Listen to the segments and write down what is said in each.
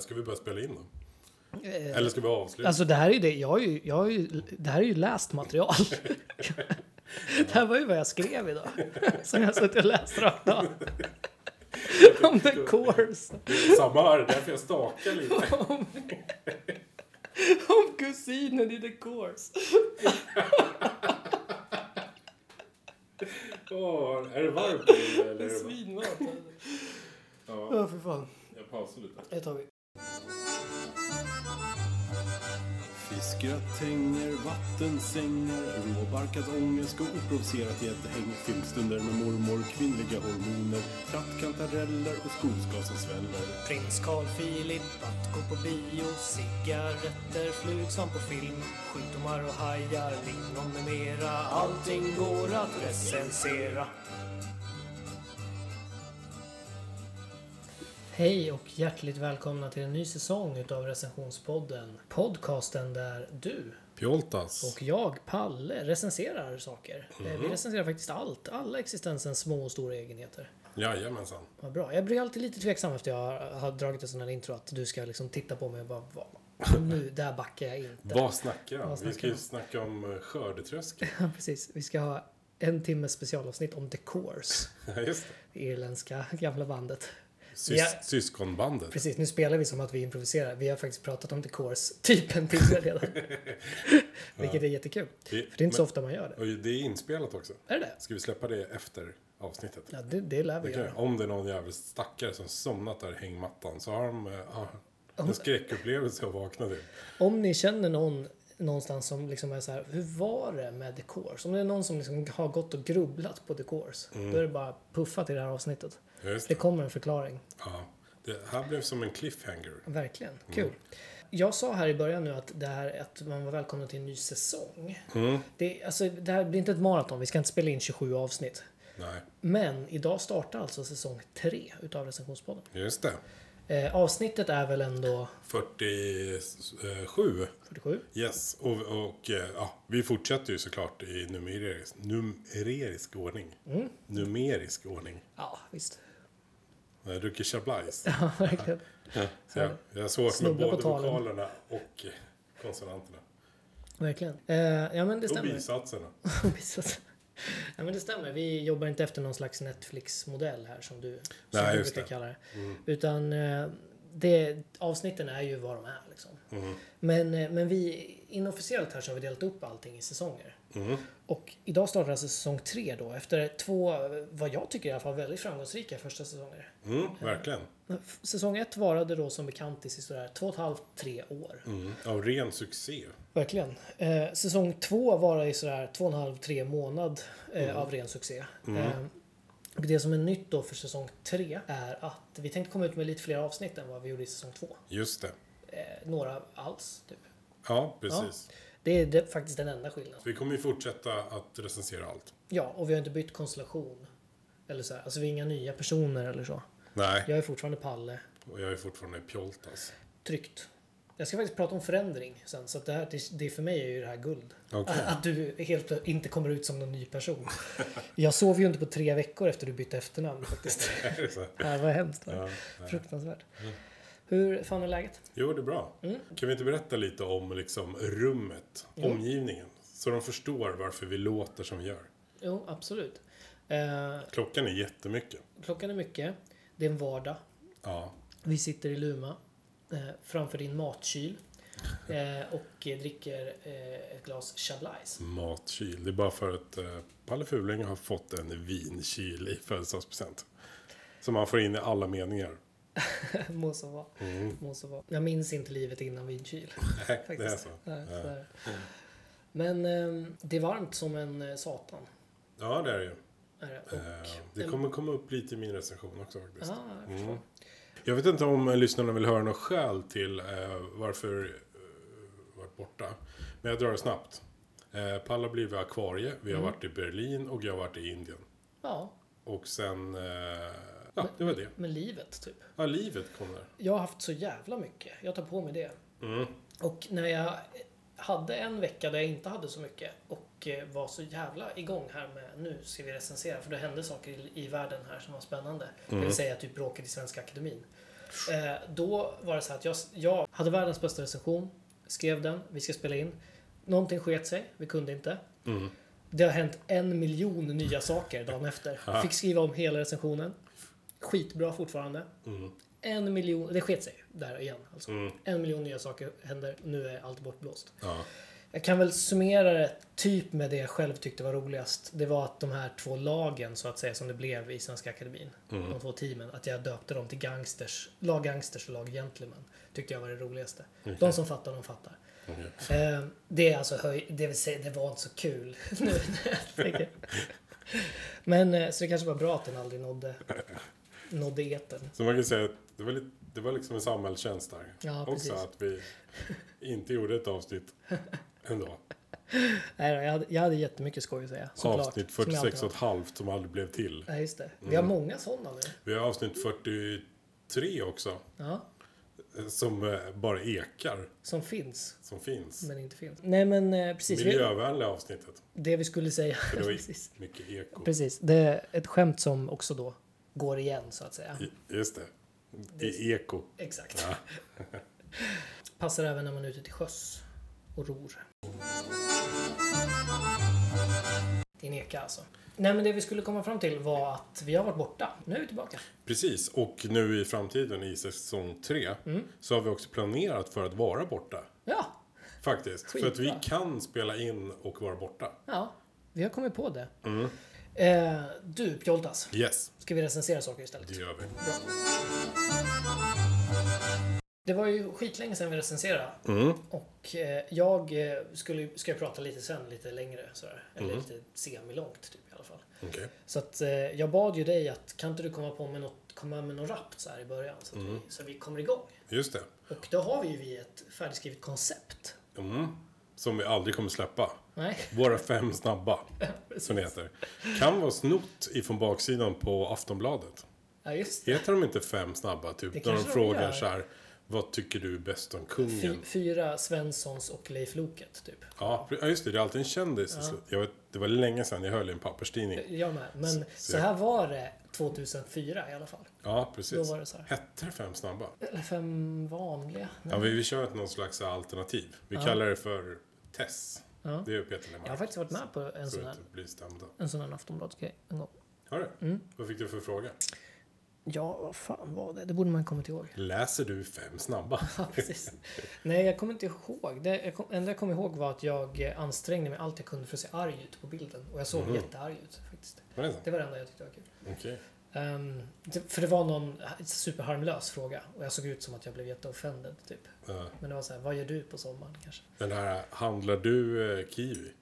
Ska vi börja spela in då? Eller ska vi avsluta? Eh, Alltså det här är ju det, jag har ju, jag har ju, det här är ju läst material. det här var ju vad jag skrev idag. Som jag suttit och läst rakt av. Om the course. Samma här, därför jag stakar lite. Om, om kusinen i the course. Åh, är det varmt nu, eller? är Det är det bara- svinmat. Ja, Ja, för fan. jag pausar lite. Det tar vi. Fiskgratänger, vattensängar, råbarkad ångest och oprovocerat gäddhäng, filmstunder med mormor, kvinnliga hormoner, trattkantareller och skogsgas som sväller. Prins Carl Philip att gå på bio Cigaretter, flug som på film Sjukdomar och hajar, lingon med mera Allting går att recensera Hej och hjärtligt välkomna till en ny säsong utav recensionspodden. Podcasten där du Pjoltas. Och jag, Palle, recenserar saker. Eh, Vi recenserar faktiskt allt. Alla existensens små och stora egenheter. Jajamensan. Vad bra. Jag blir alltid lite tveksam efter jag har, har dragit en sån här intro att du ska liksom titta på mig och bara "Va? Nu, där backar jag inte. Vad snackar jag? Vad Vi ska snackar ju vi? snacka om eh, skördetröskel. Ja, Precis. Vi ska ha en timmes specialavsnitt om The Course. Ja, Just det. Det irländska gamla bandet. Sys- Ja. Syskonbandet. Precis, nu spelar vi som att vi improviserar. Vi har faktiskt pratat om The Course typ en timme redan. Vilket är jättekul. Vi- För det är inte så ofta man gör det. Och det är inspelat också. Är det det? Ska vi släppa det efter avsnittet? Ja, det, det lär vi Det göra. kan, om det är någon jävla stackare som somnat där i hängmattan så har de eh, ah, en skräckupplevelse att vakna till. Om ni känner någon någonstans som liksom är så här, hur var det med The Course? Om det är någon som liksom har gått och grubblat på The Course, då är det bara puffa till det här avsnittet. Ja, Just Det det. kommer en förklaring. Ja. Det här blev som en cliffhanger. Verkligen. Kul. Jag sa här i början nu att det här att man var välkomna till en ny säsong. Det, alltså, det här blir inte ett maraton, vi ska inte spela in 27 avsnitt. Nej, Men idag startar alltså säsong 3 utav recensionspodden. just det. Eh, avsnittet är väl ändå 47. 47? Yes, och, och eh, ja, vi fortsätter ju såklart i numerisk, numerisk ordning. Mm. Numerisk ordning. Ja, visst. Jag har druckit chablais. Ja, verkligen. Så jag, jag har svårt med Snubbla på både talen. vokalerna och eh, konsonanterna. verkligen. Eh, ja, men det Och stämmer. bisatserna. Precis. Ja, men det stämmer. Vi jobbar inte efter någon slags Netflix-modell här som du, som Nej, du just brukar det. Mm. kalla det. Utan eh, det, avsnitten är ju vad de är. Liksom. Mm. Men, eh, men vi inofficiellt här så har vi delat upp allting i säsonger. Mm. Och idag startar alltså säsong tre då efter två, eh, vad jag tycker i alla fall, väldigt framgångsrika första säsonger. Mm, verkligen. F- Säsong ett varade då som bekant i sådär två och ett halvt, tre år. Mm. Av ren succé. Verkligen. Eh, säsong två var i sådär två och en halv, tre månad eh, av ren succé. Eh, och det som är nytt då för säsong tre är att vi tänkte komma ut med lite fler avsnitt än vad vi gjorde i säsong två. Just det. Eh, några alls, typ. Ja, precis. Det är det, faktiskt den enda skillnaden. Vi kommer ju fortsätta att recensera allt. Ja, och vi har inte bytt konstellation. Eller så här. Alltså vi är inga nya personer eller så. Nej, Jag är fortfarande Palle. och jag är fortfarande pjoltas. Tryggt. Jag ska faktiskt prata om förändring sen, så att det här, det, det för mig är ju det här guld. Okej. Att, att du helt plö- inte kommer ut som någon ny person. Jag sov ju inte på tre veckor efter du bytte efternamn faktiskt. Äh, Är det så? Det var hemskt. va? Ja. Fruktansvärt. Hur fan är läget? Jo, det är bra. Kan vi inte berätta lite om liksom, rummet, omgivningen? Så de förstår varför vi låter som vi gör. Jo, absolut. Eh, Klockan är jättemycket. klockan är mycket. Det är en vardag. Ja, Vi sitter i Luma eh, framför din matkyl eh, och eh, dricker eh, ett glas Chablais. matkyl. Det är bara för att eh, Palle Fuling har fått en vinkyl i födelsedagspresent. Som man får in i alla meningar. Må så vara. Må så vara. Jag minns inte livet innan vinkyl. Nej, det är Faktiskt. så. Nej, så är det. Men ehm, det är varmt som en eh, satan. Ja, det är det ju. Är det. Och, Eh, det kommer Mm. komma upp lite i min recension också faktiskt. ja, jag förstår. Jag vet inte om eh, lyssnarna vill höra något skäl till eh, varför eh, varit borta. Men jag drar det snabbt. Eh, Palla blir vid akvarie, vi har Mm. varit i Berlin och jag har varit i Indien. ja, Och sen... Eh, ja, det var det. men livet typ. Ja, livet kom där. Jag har haft så jävla mycket. Jag tar på mig det. Mm. Och när jag hade en vecka där jag inte hade så mycket och eh, var så jävla igång här med nu ska vi recensera för det hände saker i, i världen här som var spännande. Det vill säga typ bråket i Svenska Akademin. Eh, då var det så att jag, jag hade världens bästa recension, skrev den, vi ska spela in. Någonting sket sig, vi kunde inte. Det har hänt en miljon nya saker dagen efter. Fick skriva om hela recensionen. Skitbra fortfarande. En miljon, det sket sig där igen. Alltså. En miljon nya saker händer, nu är allt bortblåst. Ja. Jag kan väl summera det typ med det jag själv tyckte var roligast. Det var att de här två lagen så att säga som det blev i Svenska Akademin. De två teamen. Att jag döpte dem till gangsters, lag gangsters och lag gentlemen. Tyckte jag var det roligaste. De som fattar, de fattar. Eh, det är alltså höj, det vill säga, det var inte så kul. nu när jag tänker. Men eh, så det kanske var bra att den aldrig nådde, nådde etern. Så man kan säga att det var, lite, det var liksom en samhällstjänst där. Ja, Också precis. att vi inte gjorde ett avsnitt ändå. Nej då, jag hade, jag hade jättemycket skoj att säga. Såklart. avsnitt Mm. Som jag alltid 46 har. och ett halvt som aldrig blev till. Ja, just det. Vi har många sådana nu. Vi har avsnitt 43 också. Ja, eh, Som eh, bara ekar. som finns. Som finns. men inte finns. Nej men eh, precis, vi, Miljövänliga avsnittet. det vi skulle säga. För det var ju precis. mycket eko. precis, det är ett skämt som också då går igen så att säga. I- Just det. I eko. Exakt. Passar även när man är ute till sjöss och ror. Din eka alltså. Nej men det vi skulle komma fram till var att vi har varit borta. Nu är vi tillbaka. Precis, och nu i framtiden i säsong 3 Mm. så har vi också planerat för att vara borta. Ja, Faktiskt. För att vi Skitbra. kan spela in och vara borta. ja. Vi har kommit på det. Eh, du Pjoltas, Yes, ska vi recensera saker istället? det gör vi. Det var ju skitlänge sedan vi recenserade. Och eh, jag eh, skulle, ska prata lite sen, lite längre. Sådär. Eller lite semilångt typ i alla fall. Okej. Så att eh, jag bad ju dig att kan inte du komma på med något, komma med någon rap så här i början? Så att vi, så vi kommer igång. Just det. Och då har vi ju vi ett färdigskrivet koncept. Mm. Som vi aldrig kommer släppa. Nej, Våra fem snabba, som det heter. Kan vara snott ifrån baksidan på Aftonbladet. ja just det. Heter de inte fem snabba? Typ när de kanske de frågar gör. så här. Vad tycker du bäst om Fy, kungen? fyra Svenssons och Leif Loket typ. Ja, pre- ja, just det. Det är alltid en kändis. Jag vet, det var länge sedan jag höll i en papperstidning. Jag med. Men så här var det 2004 i alla fall. Ja, precis. Då var det Eh, så här. Hette det fem snabba? Eller fem vanliga. Ja, vi, vi kör ett någon slags alternativ. Vi kallar det för Tess. Det är Peter Lemark. Jag har faktiskt varit med på en sån För här, Mm. att bli stämda. en sån här Aftonbladsgrej en gång. Har du? Vad fick du för fråga? Ja, vad fan var det? Det borde man kommit ihåg. Läser du fem snabba? Ja, precis. Nej, jag kommer inte ihåg. Det jag kom, enda jag kommer ihåg var att jag eh, ansträngde mig allt jag kunde för att se arg ut på bilden. Och jag såg Mhm. jättearg ut faktiskt. Var det så? Det var det enda jag tyckte var kul. Okej. Ehm, det, för det var någon superharmlös fråga. Och jag såg ut som att jag blev jätteoffended, typ. Ja. Men det var så här, vad gör du på sommaren kanske? Den här, handlar du eh, kiwi?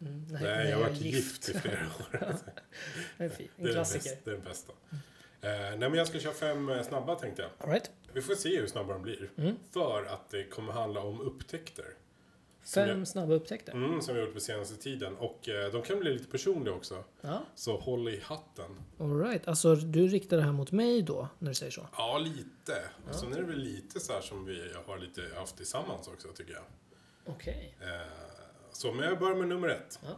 Mm, Nej, jag har varit gift i flera år. Det är fint. Det En är, den bästa, klassiker. det är den bästa. Eh, nej, men jag ska köra fem eh, snabba tänkte jag. All right. Vi får se hur snabba de blir. För att det kommer handla om upptäckter. Fem jag- snabba upptäckter. Mm, som vi har gjort på senaste tiden. Och eh, de kan bli lite personliga också. Ja, Så håll i hatten. all right. Alltså, du riktar det här mot mig då, när du säger så? Ja, lite. Och sen är det väl lite så här som vi har lite haft tillsammans också, tycker jag. Okej. Eh, Så, men jag börjar med nummer ett. Ja.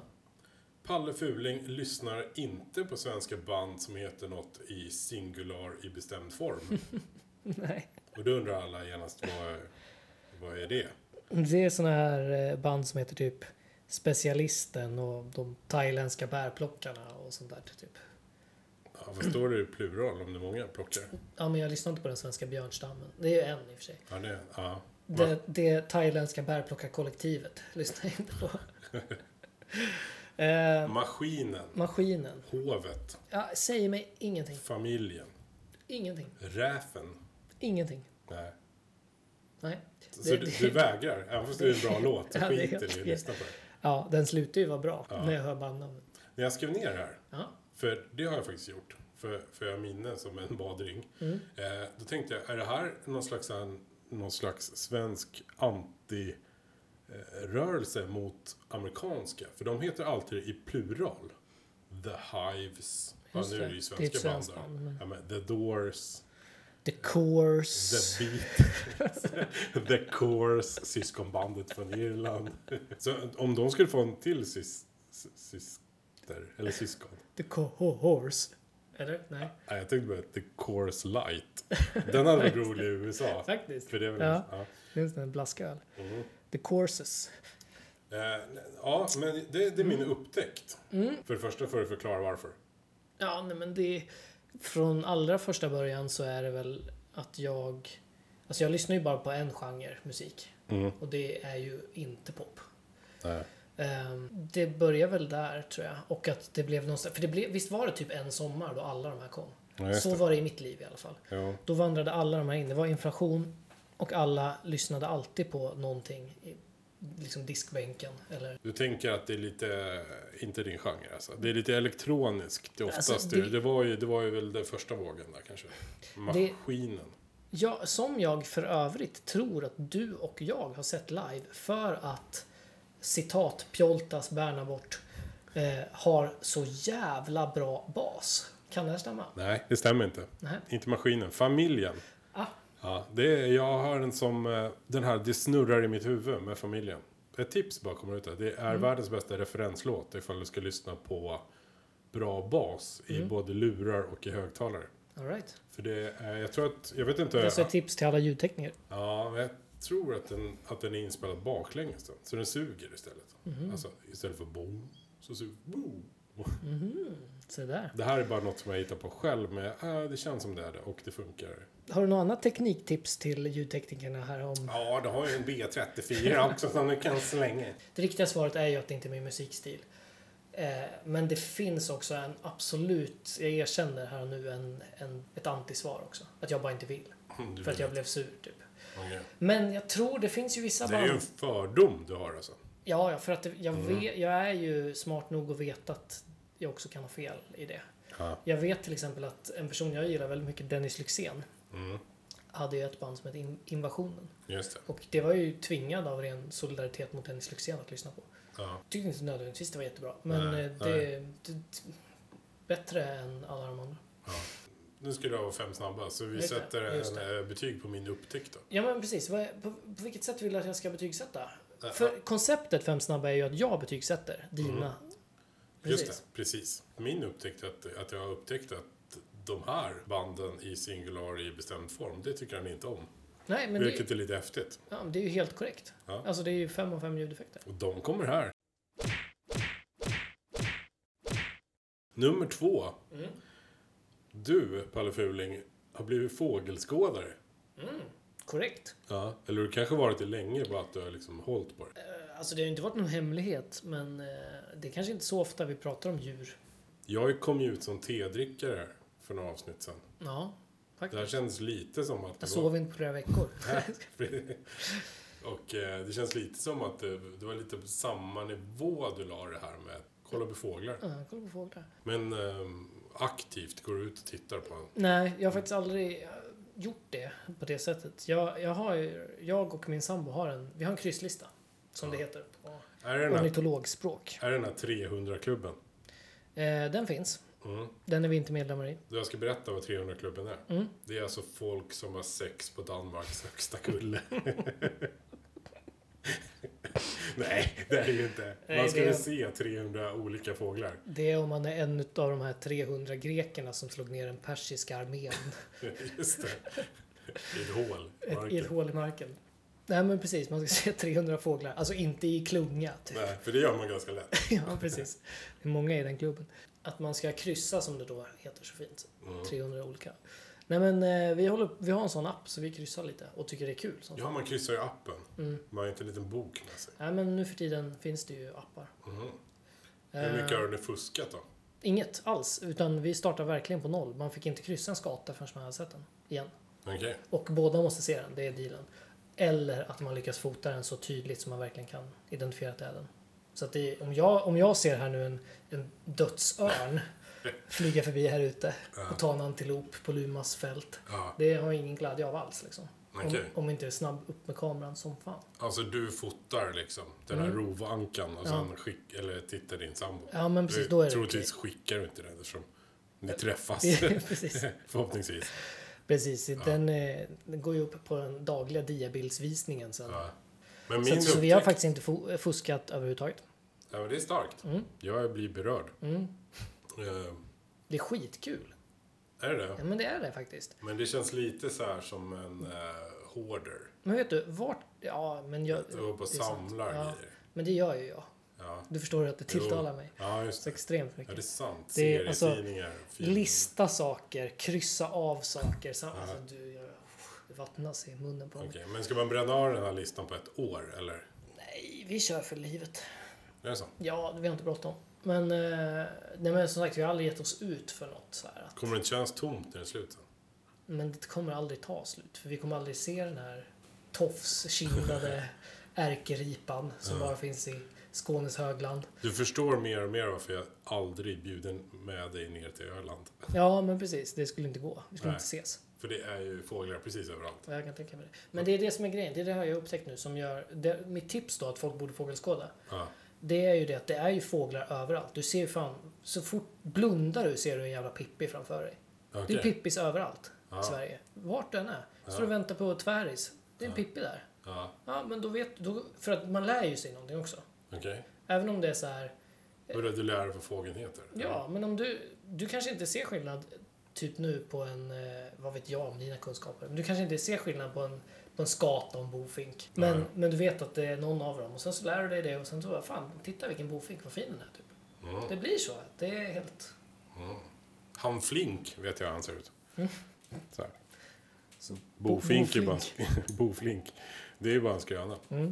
Palle Fuling lyssnar inte på svenska band som heter något i singular i bestämd form. Nej. Och då undrar alla genast, vad, vad är det? Det är såna här eh, band som heter typ Specialisten och de thailändska bärplockarna och sånt där typ. Ja, vad står det i plural om det är många plockar? Ja men jag lyssnar inte på den svenska björnstammen. Det är ju en i och för sig. Ja, det, ja. Det, det thailändska bärplockarkollektivet lyssnar jag inte på. eh, Maskinen, maskinen. hovet, Ja, säger mig ingenting. familjen, Ingenting. räfen. Ingenting. Nej. Nej. Så Det- du, det- du vägrar, även fast det är en bra låt, så Ja, det är skiter vi i okej. att lyssna på det. Ja, den slutar ju vara bra när jag hör bandnamnet. När jag skrev ner det här, Ja. för det har jag faktiskt gjort, för, för jag har minnen som en badring. Mm. Eh, då tänkte jag, är det här någon slags, en, någon slags svensk anti-rörelse mot amerikanska? För de heter alltid i plural. The Hives. Ja, Just nu är det det. ju Det är svenska ett band svenskt där. band, men- Ja, men The Doors, The Course. The Beatles, The Course, syskonbandet från Irland. Så om de skulle få en till sys, sy- syster, eller syskon. The, Course. Eller? Nej. Nej, jag tänkte på The Coors Light. Den hade varit rolig i USA. Faktiskt. För det är väl Ja. ja. Det är en sån här blasköl. Mhm. The Courses. Eh, ja, men det, det är min upptäckt. Mm. För det första får du förklara varför. Ja, nej men det... Från allra första början så är det väl att jag... Alltså jag lyssnar ju bara på en genre musik. Och det är ju inte pop. Mhm. Nej. Ehm, Det börjar väl där tror jag. Och att det blev någonstans... För det blev, visst var det typ en sommar då alla de här kom? Ja, just så det. var det i mitt liv i alla fall. Ja. Då vandrade alla de här in. Det var inflation och alla lyssnade alltid på någonting. I, liksom diskbänken eller... Du tänker att det är lite, inte din genre alltså. Det är lite elektroniskt oftast. Alltså, det... det- Det, var ju, det var ju väl den första vågen där kanske. Maskinen. Ja, som jag för övrigt tror att du och jag har sett live för att citat Pjoltas Bernabort eh, har så jävla bra bas. Kan det här stämma? Nej, det stämmer inte. Nej. Inte maskinen, familjen. Ah. Ja, det är, jag har den som, eh, den här, det snurrar i mitt huvud med familjen. Ett tips bara kommer ut där. Det Mm. är världens bästa referenslåt ifall du ska lyssna på bra bas i Mm. både lurar och i högtalare. All right. För det är, jag tror att, jag vet Det är inte. alltså ett tips till alla ljudtekniker. Ja, men jag tror att den, att den är inspelad baklänges då. Så den suger istället. Mm-hmm. Alltså istället för boom, så suger boom. Se där. Det här är bara något som jag hittar på själv, men äh, det känns som det är det och det funkar. Har du något annat tekniktips till ljudteknikerna här om? Ja, det har ju en B34 också som du kan slänga. Det riktiga svaret är ju att det inte är min musikstil. Eh, men det finns också en absolut, jag erkänner här och nu, en, en, ett antisvar också. Att jag bara inte vill. Du För att vet. jag blev sur typ. Okej. Men jag tror det finns ju vissa Det är band. ju en Mm. fördom du har alltså. Ja, ja, för att det, jag, vet, jag är ju smart nog att veta att jag också kan ha fel i det. Ja. Jag vet till exempel att en person jag gillar väldigt mycket, Dennis Lyxzén, hade ju ett band som hette In- Invasionen. Mm, Just det. Och det var jag ju tvingad av ren solidaritet mot Dennis Lyxzén att lyssna på. Ja. Tyckte inte nödvändigtvis det var jättebra. Men Nej, eh, det, det, det bättre än alla de andra. Nu skulle jag ha fem snabba, så vi Just det, sätter just en eh, betyg på min upptäckt då. Ja men precis. Vad, är- på, på vilket sätt vill du att jag ska betygsätta? Äh, För konceptet fem snabba är ju att jag betygsätter dina. Mm. Just Precis. det, precis. Min upptäckt att, att jag har upptäckt att de här banden i singular i bestämd form, det tycker han inte om. Nej men vilket det, är lite häftigt. ja, men det är ju helt korrekt. Ja. Alltså det är ju fem av fem ljudeffekter. Och de kommer här. Nummer två. Du, Palle Fuling, har blivit fågelskådare. Korrekt. Ja. Eller du kanske varit det länge, bara att du har liksom hållit på det. Eh, Alltså det har ju inte varit någon hemlighet men eh, det är kanske inte så ofta vi pratar om djur. Jag kom ju ut som tedrickare för några avsnitt sedan. Ja, Det här faktiskt. känns lite som att... det Jag var- sov inte på flera veckor. Och eh, det känns lite som att eh, det var lite på samma nivå du la det här med att kolla på fåglar. Ja, kolla på fåglar. Men ehm, aktivt går du ut och tittar på en. Nej, jag har faktiskt aldrig eh, gjort det på det sättet. Jag, jag, har, ju- jag och min sambo har en, vi har en krysslista. Som det heter på Är det den här, ornitologspråk. är det den här 300-klubben? Eh, den finns. Mm. Den är vi inte medlemmar i. Jag ska berätta vad 300-klubben är. Mm. Det är alltså folk som har sex på Danmarks högsta kulle. Nej, det är det ju inte. Nej, Man ska det- väl se 300 olika fåglar. Det är om man är en av de här 300 grekerna som slog ner den persiska armén Just det. I ett hål. ett, i ett marken. hål i marken. Nej men precis, man ska se 300 fåglar. Alltså inte i klunga. Typ. Nej, för det gör man ganska lätt. ja, precis. Det är många i den klubben. Att man ska kryssa som det då heter så fint. Mm. 300 olika. Nej men eh, vi, håller, vi har en sån app så vi kryssar lite och tycker det är kul. Sånt. Mm. Ja, man kryssar ju appen. Man har inte en liten bok med sig. Nej men nu för tiden finns det ju appar. Mm-hmm. Eh, Hur mycket har du fuskat då? Inget alls, utan vi startar verkligen på noll. Man fick inte kryssa en skata förrän man hade sett den igen. Okej. Och båda måste se den, det är dealen. Eller att man lyckas fota den så tydligt som man verkligen kan identifiera att det är den. Så att det, om, jag, om jag ser här nu en, en dödsörn flyga förbi här ute och ta en antilop på Lumas fält. Ja. Det har jag ingen glädje av alls liksom. Okej. Om, om inte det är snabb upp med kameran som fan. Alltså du fotar liksom den här rovankan och sen skick, eller tittar din sambo. Mm. Ja, men precis, Du- då är det Troligtvis skickar du inte den eftersom ni träffas. Precis. Förhoppningsvis. Precis, den, eh, den går ju upp på den dagliga diabildsvisningen sen. Ja. Men Så, min att, så vi har upptäckt, faktiskt inte fu- fuskat överhuvudtaget. Mm. ja, men det är starkt. Jag blir berörd. Eh, Det är skitkul. Är det Ja, det? men det är det faktiskt. Men det känns lite så här som en eh, hoarder. Men vet du, vart... Ja, men jag... Du håller på och det är sant. samlar ja, grejer. Men det gör ju jag. Ja. Du förstår ju att det Jo. tilltalar mig Ja, just så det. extremt Ja, mycket. det är sant. Det är, alltså, Serietidningar. film. Lista saker, kryssa av saker. Så, alltså, du, jag, det vattnas i munnen på mig. Okej, men ska man bränna av den här listan på ett år, eller? Nej, vi kör för livet. Är det så? Ja, vi har inte bråttom. Men, eh, nej, men som sagt, vi har aldrig gett oss ut för något. Så här, att, Kommer det inte kännas tomt när det är slut sen? men det kommer aldrig ta slut. För vi kommer aldrig se den här tofskindade ärkeripan som bara finns i Skånes högland. Du förstår mer och mer varför jag aldrig bjuder med dig ner till Öland. Ja, men precis. Det skulle inte gå. Vi skulle Nej. inte ses. För det är ju fåglar precis överallt. Ja, Jag kan tänka mig det. Men det är det som är grejen. Det är det här jag har upptäckt nu som gör... Det, mitt tips då att folk borde fågelskåda. Ja. Det är ju det att det är ju fåglar överallt. Du ser ju fan... Så fort blundar du ser du en jävla pippi framför dig. Det är Okej. pippis överallt i Sverige. Vart den är. Står du och väntar på tväris. Det är en pippi där. Ja, Ja, men då vet du... För att man lär ju sig någonting också. okej. Även om det är så här... Vadå, du lär dig vad fågeln heter? Ja, men om du... Du kanske inte ser skillnad typ nu på en... eh, Vad vet jag om dina kunskaper? Men du kanske inte ser skillnad på en, på en skat och en bofink. Men, men du vet att det är någon av dem. Och sen så lär du dig det och sen så bara, fan, titta vilken bofink, vad fin den är. Typ. Det blir så. Det är helt... Han Flink vet jag hur han ser ut. Så här. Mm. Så, Bofink är bara Boflink. Mm. Boflink. Det är ju bara en skröna. Eh,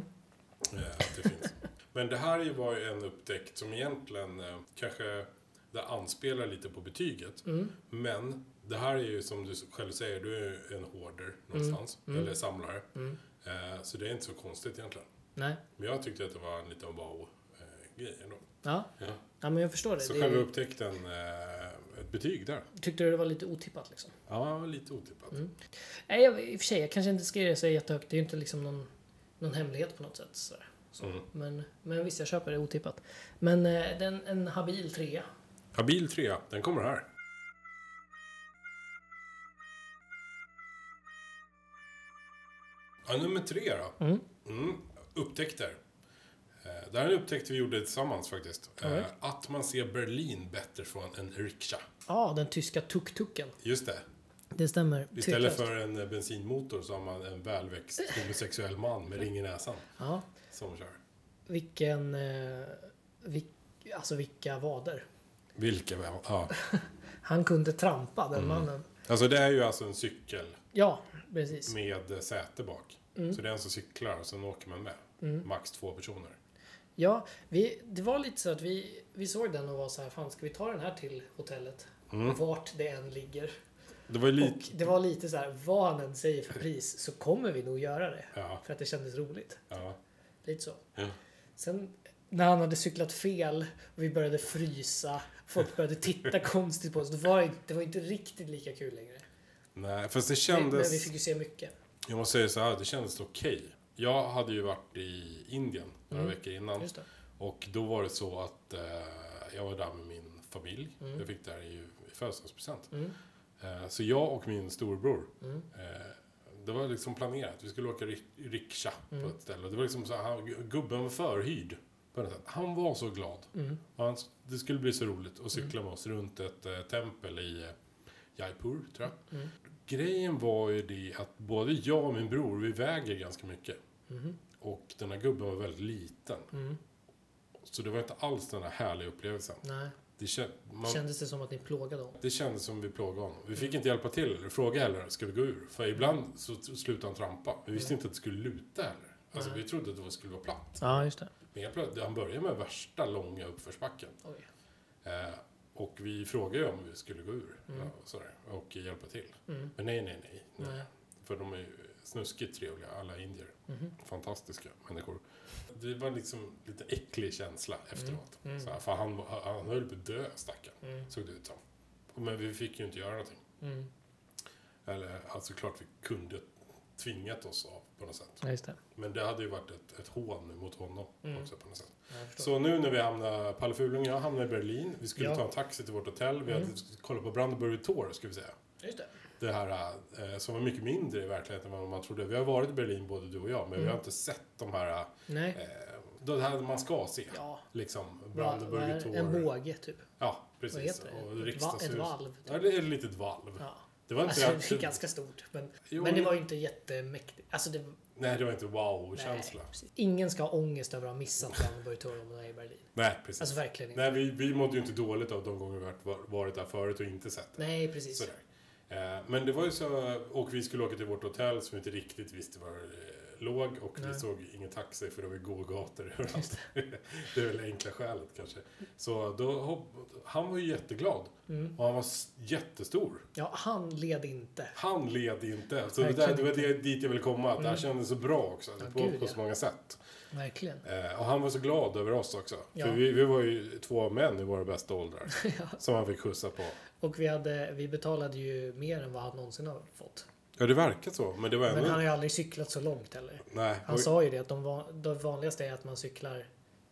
att det finns. Men det här ju var ju en upptäckt som egentligen eh, kanske det anspelar lite på betyget. Mm. Men det här är ju som du själv säger, du är ju en hoarder Mm. någonstans. Eller samlare. Eh, så det är inte så konstigt egentligen. Nej. Men jag tyckte att det var en liten wow-grej ändå. Ja. Ja. ja, men jag förstår det. Så det själva upptäckten, eh, ett betyg där. Tyckte du det var lite otippat liksom? Ja, lite otippat. Nej, jag, i och för sig, jag kanske inte ska ge det så jättehögt. Det är ju inte liksom någon, någon hemlighet på något sätt. Så. Så. Mm. Men, men visst, jag köper det otippat. Men eh, den, en habil trea. Habil 3, den kommer här. Ja, nummer tre då. Mm. Upptäckter. Eh, Det här är en upptäckt vi gjorde tillsammans faktiskt. Eh, Alright. Att man ser Berlin bättre från en rikscha. Ja, den tyska tuk-tuken. Just det. Det stämmer. Istället tveklöst. för en eh, bensinmotor så har man en välväxt homosexuell man med ring i näsan Ja, som kör. vilken... Eh, vil, alltså vilka vader. Vilka väl? Ja. Han kunde trampa, den mannen. Alltså det är ju alltså en cykel Ja, precis. Mm. med eh, säte bak. Så det är en som cyklar och sen åker man med. Max två personer. Ja, vi, det var lite så att vi, vi såg den och var så här, fan ska vi ta den här till hotellet? Mm. Vart det än ligger. Det var ju lite... Och det var lite så här, vad han än säger för pris så kommer vi nog göra det. Ja. För att det kändes roligt. Ja. Lite så. Ja. Sen när han hade cyklat fel och vi började frysa, folk började titta konstigt på oss. Det var, inte- det var inte riktigt lika kul längre. Nej, fast det Men, men vi kändes... fick ju se mycket. Jag måste säga så här, det kändes okej. Jag hade ju varit i Indien några veckor innan. Mm. Just det. Och då var det så att eh, jag var där med min familj. Jag fick det här i, i födelsedagspresent. Eh, så jag och min storbror. Eh, det var liksom planerat. Vi skulle åka rik- rikscha på ett ställe. Och Det var liksom så här, han, gubben var förhyrd. På något sätt. Han var så glad. Och han, det skulle bli så roligt att cykla med oss runt ett eh, tempel i eh, Jaipur, tror jag. Grejen var ju det att både jag och min bror, vi väger ganska mycket. Mhm, Och den här gubben var väldigt liten. Så det var inte alls den här härliga upplevelsen. Nej. Det, kän, man, Kändes det som att ni plågade honom? det kändes som vi plågade honom. Vi fick inte hjälpa till eller fråga heller, ska vi gå ur? För ibland så t- slutade han trampa. Vi visste inte att det skulle luta heller. Alltså vi trodde att det skulle vara platt. Ja, just det. Men helt plötsligt, han började med värsta långa uppförsbacken. Oj. Eh, och vi frågade ju om vi skulle gå ur ja, och, sådär, och hjälpa till. Mm. Men nej, nej, nej. Mm. nej. För de är ju snuskigt trevliga, alla indier. Mhm, Fantastiska människor. Det var liksom lite äcklig känsla efteråt. mhm. Såhär, för han, var- han höll på att dö, stackaren. Mm, Såg det ut som. Men vi fick ju inte göra någonting. Eller, alltså klart vi kunde tvingat oss av på något sätt. Ja, just det. Men det hade ju varit ett, ett hån mot honom också på något sätt. jag Mm. förstår. så nu när vi hamnar, Palle Fuling och jag hamnar i Berlin, vi skulle Ja. Mm. ta en taxi till vårt hotell, vi hade kollat på Brandenburg Tor, ska vi säga. Just det. Det här eh, som var mycket Mm. mindre i verkligheten än vad man trodde. Vi har varit i Berlin både du och jag, men vi har inte sett de här Nej. eh, det här man ska se. Ja. Liksom, Vad- vad är Brandenburger det? Tor. En båge typ. Ja, Vad precis. heter det? Och Ett va- riksdagshus. ett valv, typ. Ja, det är ett litet valv. Ja. Det var inte... Alltså, det är ganska stort. Men, Jo, men det men- var ju inte jättemäktigt. Alltså, det, Nej, det var inte nej, wow-känsla. Nej, precis. Ingen ska ha ångest över att ha missat Brandenburg Tor om man är i Berlin. precis. Alltså verkligen inte. Nej, vi, vi mådde ju inte dåligt av de gånger vi varit, varit där förut och inte sett det. Nej, precis. Sådär. Eh, Men det var ju så, och vi skulle åka till vårt hotell som vi inte riktigt visste var eh, låg och vi Nej. såg ingen taxi för det var ju gågator överallt. det är väl det enkla skälet kanske. Så då, hopp- han var ju jätteglad Mm. och han var s- jättestor. Ja, han led inte. Han led inte. Så det, Verkligen där, det var det, dit jag ville komma, att det här kändes så bra också. på, gud, på ja. så många sätt. Verkligen. Eh, och han var så glad över oss också. Ja. För vi, vi var ju två män i våra bästa åldrar. Som han fick skjutsa på. Och vi, hade, vi betalade ju mer än vad han någonsin har fått. Ja, det verkar så. Men det var Men ändå... han har ju aldrig cyklat så långt heller. Nej. Han och- sa ju det att de, va- det vanligaste är att man cyklar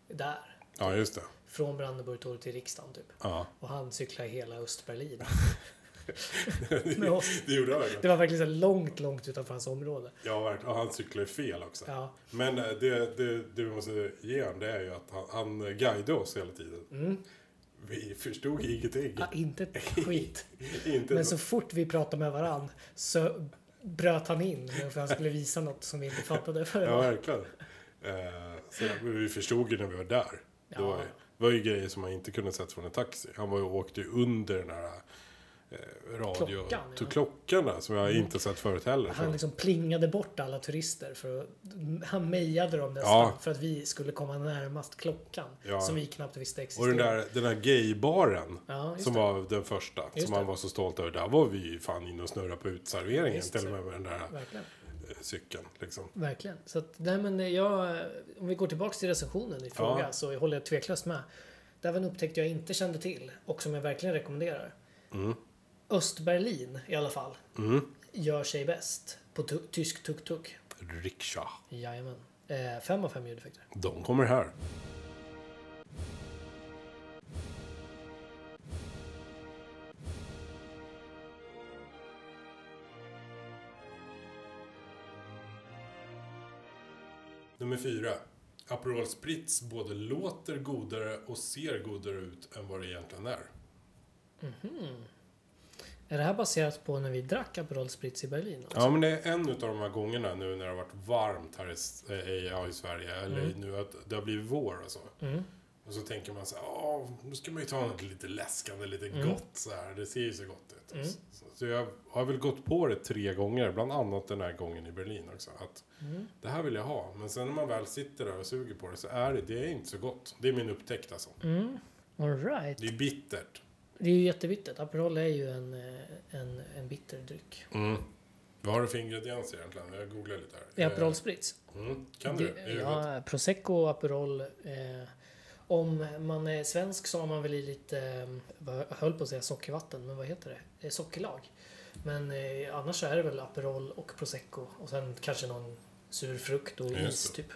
där. Ja, just det. Från Brandenburgtorget till riksdagen typ. Ja. Och han cyklar hela Östberlin. Med det, oss. gjorde han verkligen. Det var verkligen så här långt, långt utanför hans område. Ja, verkligen. Och han cyklade fel också. Ja, Men eh, det, det, det vi måste ge honom, det är ju att han, han guidade oss hela tiden. Mm. Vi förstod ingenting. ah, inte ett skit. Inte Men så fort vi pratade med varann så bröt han in för han skulle visa något som vi inte fattade förrän. Ja, verkligen. Eh, så, men vi förstod ju när vi var där. Det var, ju- det var ju grejer som man inte kunde sett från en taxi. Han var ju, åkte ju under den här eh, radio... Klockan, ja. Mm. till klockan där, som jag inte sett förut heller. Han Så, liksom plingade bort alla turister. För att, han mejade dem nästan Ja. för att vi skulle komma närmast klockan. Ja. Som vi knappt visste och existerade. den där, den där gaybaren. Ja, just Som det. var den första, Just som det. han var så stolt över. Där var vi ju fan inne och snurrade på utserveringen Just till och så. med med den där eh, Verkligen. cykeln. Liksom. Verkligen. Så att, nej men jag, om vi går tillbaks till recensionen i fråga Ja. så håller jag tveklöst med. Det var en upptäckt jag inte kände till och som jag verkligen rekommenderar. Mm. Östberlin i alla fall gör sig bäst på tu- tysk tuk-tuk. Riksha. Jajamän. Eh, fem av fem ljudeffekter. De kommer här. Nummer fyra. Aperol Spritz både låter godare och ser godare ut än vad det egentligen är. Är det här baserat på när vi drack Aperol Spritz i Berlin? Alltså? Ja, men det är en av de här gångerna nu när det har varit varmt här i, S- eh, i, ja, i Sverige, eller Mm. nu att det har blivit vår och så. Och så tänker man så här, "Åh, nu ska man ju ta något lite läskande, lite Mm. gott så här. Det ser ju så gott ut. Så, så jag har väl gått på det tre gånger, bland annat den här gången i Berlin också. Att Mm. Det här vill jag ha, men sen när man väl sitter där och suger på det så är det, det är inte så gott. Det är min upptäckt alltså. Mm. All right. Det är bittert. Det är ju jättebittert. Aperol är ju en, eh, en, en bitter dryck. Vad har du för ingredienser egentligen? Jag googlar lite Det här. är Aperol Spritz. Eh, Mm. Kan du? Det- Är det gott? Ja, prosecco, Aperol. Eh, om man är svensk så har man väl i lite, eh, vad- jag höll på att säga sockervatten, men vad heter det? Eh, Sockerlag. Men eh, annars så är det väl Aperol och prosecco och sen kanske någon sur frukt och Just is det. typ.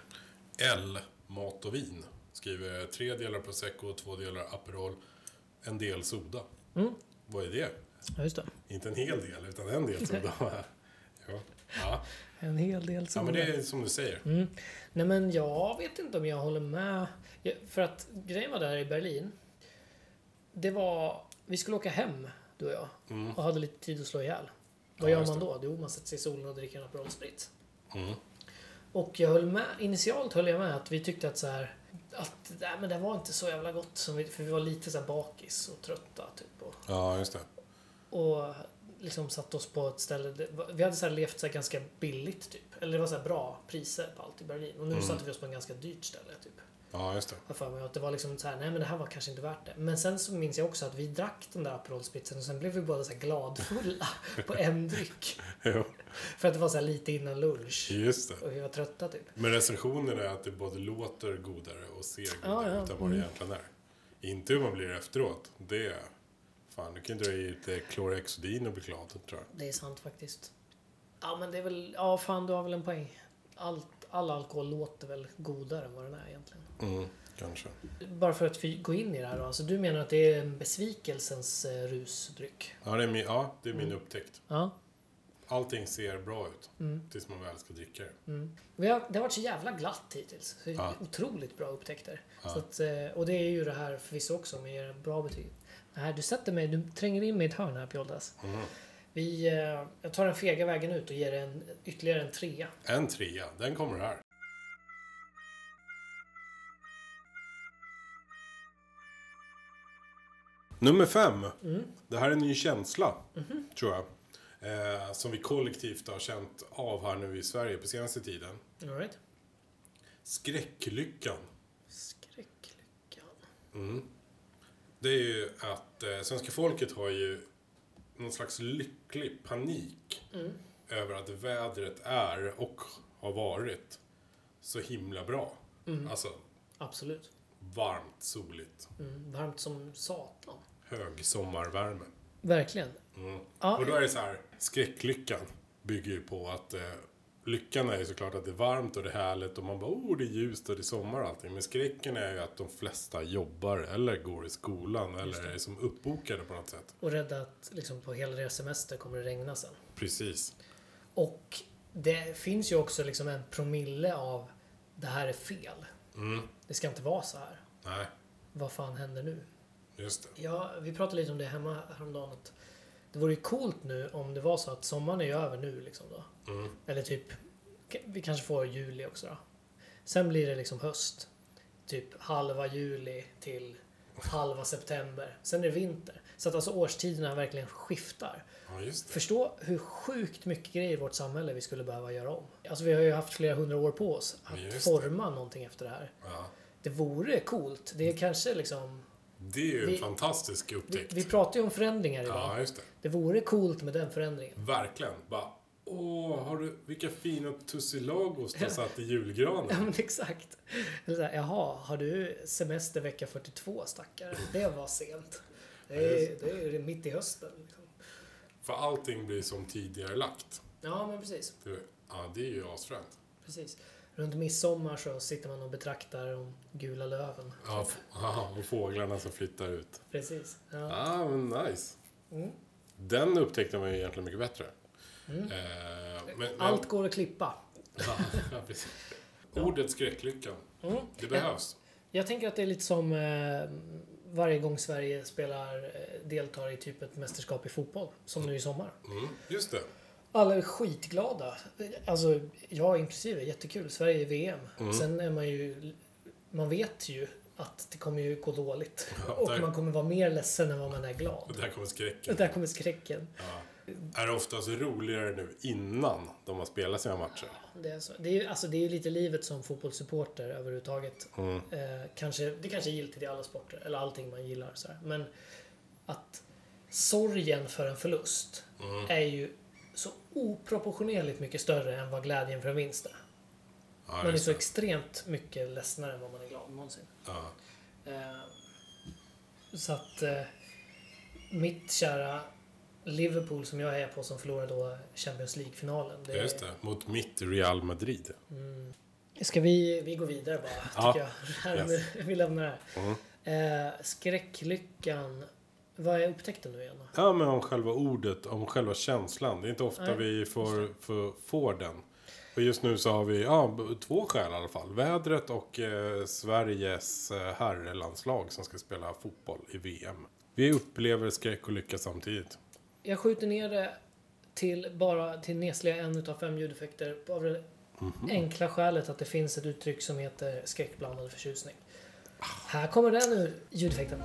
L, mat och vin. Skriver tre delar prosecco, två delar Aperol, en del soda. Mm. Vad är det? Ja, just det. Inte en hel del, utan en del soda. ja. Ja. En hel del ja, som men det är som du säger. Mm. Nej men jag vet inte om jag håller med. Jag- För att grejen var där i Berlin. Det var, vi skulle åka hem du och jag. Och hade lite tid att slå ihjäl. Mm. Ja, Vad gör just man det. då? Jo man sätter sig i solen och dricker en Aperol Spritz. Mm. Och jag höll med, initialt höll jag med att vi tyckte att så här att nej, men det var inte så jävla gott som vi, för vi var lite så här bakis och trötta typ. Och, Ja, just det. och liksom satt oss på ett ställe. det var- Vi hade så här levt så här ganska billigt typ. Eller det var så här bra priser på allt i Berlin. Och nu satte vi oss på en ganska dyrt ställe typ. Ja, just det. Jag för mig att det var liksom så här, nej men det här var kanske inte värt det. Men sen så minns jag också att vi drack den där Aperol Spritzen och sen blev vi båda så här gladfulla på en dryck. Jo, För att det var så här lite innan lunch. just det. Och vi var trötta typ. Men recensionen är att det både låter godare och ser godare Ja, ja. ut än vad det egentligen är. Inte hur man blir efteråt. Det... Fan, du kan ju dra i lite klorexodin och bli glad, tror jag. Det är sant faktiskt. Ja men det är väl, ja fan du har väl en poäng. Allt, all alkohol låter väl godare än vad den är egentligen. Mm, kanske. Bara för att vi går in i det här då. Alltså, du menar att det är en besvikelsens eh, rusdryck? Mm. Ja, det är min, ja, det är min upptäckt. Ja. Allting ser bra ut. Tills man väl ska dricka det. Vi har, det har varit så jävla glatt hittills. Så Ja. Otroligt bra upptäckter. Så att, eh, och det är ju det här förvisso också, men ger bra betyg. Det här, du sätter mig, du tränger in mig i ett hörn här Pjoldas. Mm. Vi, eh, jag tar den fega vägen ut och ger en, ytterligare en trea. En trea, den kommer här. Nummer fem. Det här är en ny känsla, tror jag. Eh, som vi kollektivt har känt av här nu i Sverige på senaste tiden. All right. Skräcklyckan. Skräcklyckan. Det är ju att eh, svenska folket har ju någon slags lycklig panik över att vädret är och har varit så himla bra. Alltså Absolut. varmt, soligt, Mm, varmt som satan. hög sommarvärme. Verkligen. Ja, Mm. Och då är det så här, skräcklyckan bygger ju på att eh, lyckan är ju såklart att det är varmt och det är härligt och man bara oh det är ljust och det är sommar och allting. Men skräcken är ju att de flesta jobbar eller går i skolan eller är som uppbokade på något sätt. Och rädd att liksom, på hela deras semester kommer det regna sen. Precis. Och det finns ju också liksom en promille av det här är fel. Det ska inte vara så här. Mm. Nej, Vad fan händer nu? just det. Ja, vi pratade lite om det hemma häromdagen. Att det vore ju coolt nu om det var så att sommaren är ju över nu. Liksom då. Eller typ, k- vi kanske får juli också då. Sen blir det liksom höst. Typ halva juli till halva september. Sen är det vinter. Så att alltså årstiderna verkligen skiftar. Ja, just det. Förstå hur sjukt mycket grejer i vårt samhälle vi skulle behöva göra om. Alltså vi har ju haft flera hundra år på oss att Just det. forma någonting efter det här. Ja. Det vore coolt. Det är Mm. kanske liksom... Det är ju en Vi- fantastisk Vi, upptäckt. vi pratar ju om förändringar idag. Ja, just det. Det vore coolt med den förändringen. Verkligen. Bara, åh, har du, vilka fina tussilagos du har satt i julgranen. Ja men exakt. Eller så här, Jaha, har du semester vecka 42 stackare? Det var sent. Det är, det är mitt i hösten. Liksom. För allting blir som tidigare lagt. Ja men precis. Det, ja, det är ju asfränt. precis. Runt midsommar så sitter man och betraktar de gula löven. Ja, f- ja, och fåglarna som flyttar ut. Precis. Ja. Mm. Ja, men nice. Den upptäckten var ju egentligen mycket bättre. Eh, men, men, Allt går att klippa. Ja, precis. Ordet skräcklyckan. Det behövs. Mm. Eh, Jag tänker att det är lite som eh, varje gång Sverige spelar, eh, deltar i typ ett mästerskap i fotboll, som nu i sommar. Mm, just det. Alla är skitglada. Alltså, jag inklusive. Jättekul. Sverige i VM. Sen är man ju... Man vet ju att det kommer ju gå dåligt. Ja, och där- man kommer vara mer ledsen än vad man är glad. Där kommer skräcken. Och där kommer skräcken. Är det oftast roligare nu innan de har spelat sina matcher? Det är, så. Det, är ju, alltså, det är ju lite livet som fotbollssupporter överhuvudtaget. Mm. Eh, kanske, det kanske är giltigt i alla sporter, eller allting man gillar. Så här. Men att sorgen för en förlust Mm. är ju så oproportionerligt mycket större än vad glädjen för en vinst är. Ja, Man är just så det. extremt mycket ledsnare än vad man är glad någonsin. Ja. Eh, så att eh, mitt kära Liverpool som jag är på som förlorade då Champions League-finalen. Ja, Just det. Mot mitt Real Madrid. Ska vi, vi gå vidare bara, Ja. Uh-huh. tycker jag. Här med- Vi lämnar det här. Eh, skräcklyckan. Vad är upptäckten nu igen då? Ja, men om själva ordet, om själva känslan. Det är inte ofta Nej, vi får, får, får den. Och just nu så har vi ja, b- två skäl i alla fall. Vädret och eh, Sveriges eh, herrelandslag som ska spela fotboll i VM. Vi upplever skräck och lycka samtidigt. Jag skjuter ner det till bara till nesliga en utav fem ljudeffekter. Av det Mm-hmm. enkla skälet att det finns ett uttryck som heter skräckblandad förtjusning. Här kommer den ur ljudeffekten.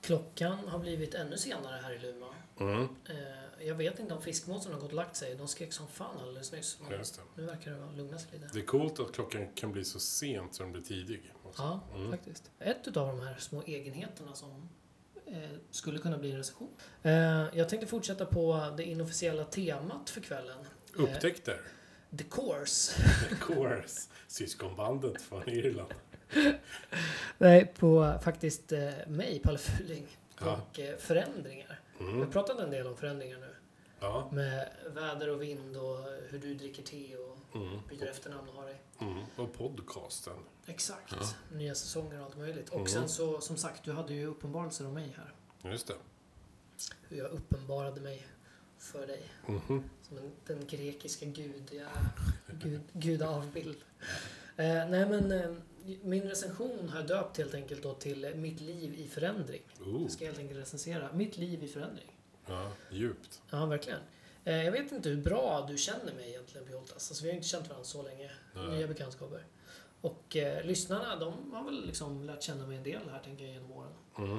Klockan har blivit ännu senare här i Luma. Mm-hmm. Eh, jag vet inte om fiskmåsen har gått och lagt sig. De skrek som fan alldeles nyss. Men Just det. nu verkar det lugna sig lite. Det är coolt att klockan kan bli så sent som den blir tidig. också. Ja, faktiskt. Ett av de här små egenheterna som eh, skulle kunna bli en recension. Eh, jag tänkte fortsätta på det inofficiella temat för kvällen. Upptäckter. The Course. Course, syskonbandet från Irland. Nej, på faktiskt eh, mig, Palle Fuling. Ja. Och eh, förändringar. Vi har pratat en del om förändringar nu. Ja, Med väder och vind och hur du dricker te och byter efternamn och har dig. mm. och podcasten. Exakt. Nya säsonger och allt möjligt. Och sen så, som sagt, du hade ju uppenbarelser om mig här. Just det. Hur jag uppenbarade mig för dig. Som en, den grekiska gudiga, gud, gudavbild. Eh, nej men, eh, min recension har jag döpt helt enkelt då till eh, Mitt liv i förändring. Ooh. Jag ska helt enkelt recensera Mitt liv i förändring. Ja, djupt. Ja, verkligen. Eh, jag vet inte hur bra du känner mig egentligen, Pjoltas. Alltså, vi har ju inte känt varandra så länge. Nej. Nya bekantskaper. Och eh, lyssnarna, de har väl liksom lärt känna mig en del här, tänker jag, genom åren.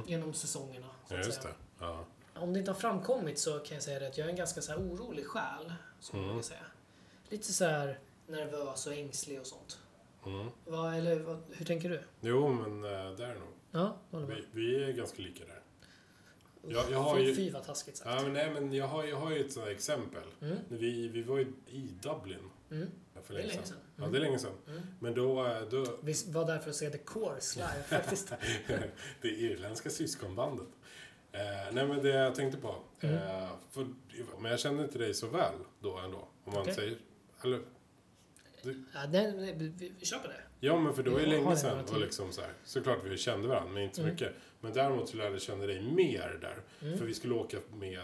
Genom säsongerna, så Ja, att just säga. det. Ja. Om det inte har framkommit så kan jag säga det att jag är en ganska så här orolig själ. Som Mm. man kan säga. Lite så här nervös och ängslig och sånt. Mm. Va, eller, vad- hur tänker du? Jo, men eh, där nog. Ja, håller med. Vi, vi är ganska lika där. Jag, jag har fy, ju... fy vad taskigt sagt. Ja, men nej, men jag har, jag har ju ett sånt här exempel. När Vi, vi var ju i Dublin Mm. för Det är länge sedan. länge sedan. Mm. Ja, det är länge sedan. Men då, eh, då Vi var där för att se The Course live faktiskt. det irländska syskonbandet. Eh, nej, men det jag tänkte på. Mm. Eh, för, men jag kände inte dig så väl då ändå. Om man Okej. säger... Eller, Ja, nej, nej, vi, vi, vi kör på det. ja, men för det var ju Jag har länge det typ- sedan. Mm. några Och till. liksom så här, såklart vi kände varandra, men inte så mycket. Men däremot så lärde jag känna dig mer där. Mm. För vi skulle åka med eh,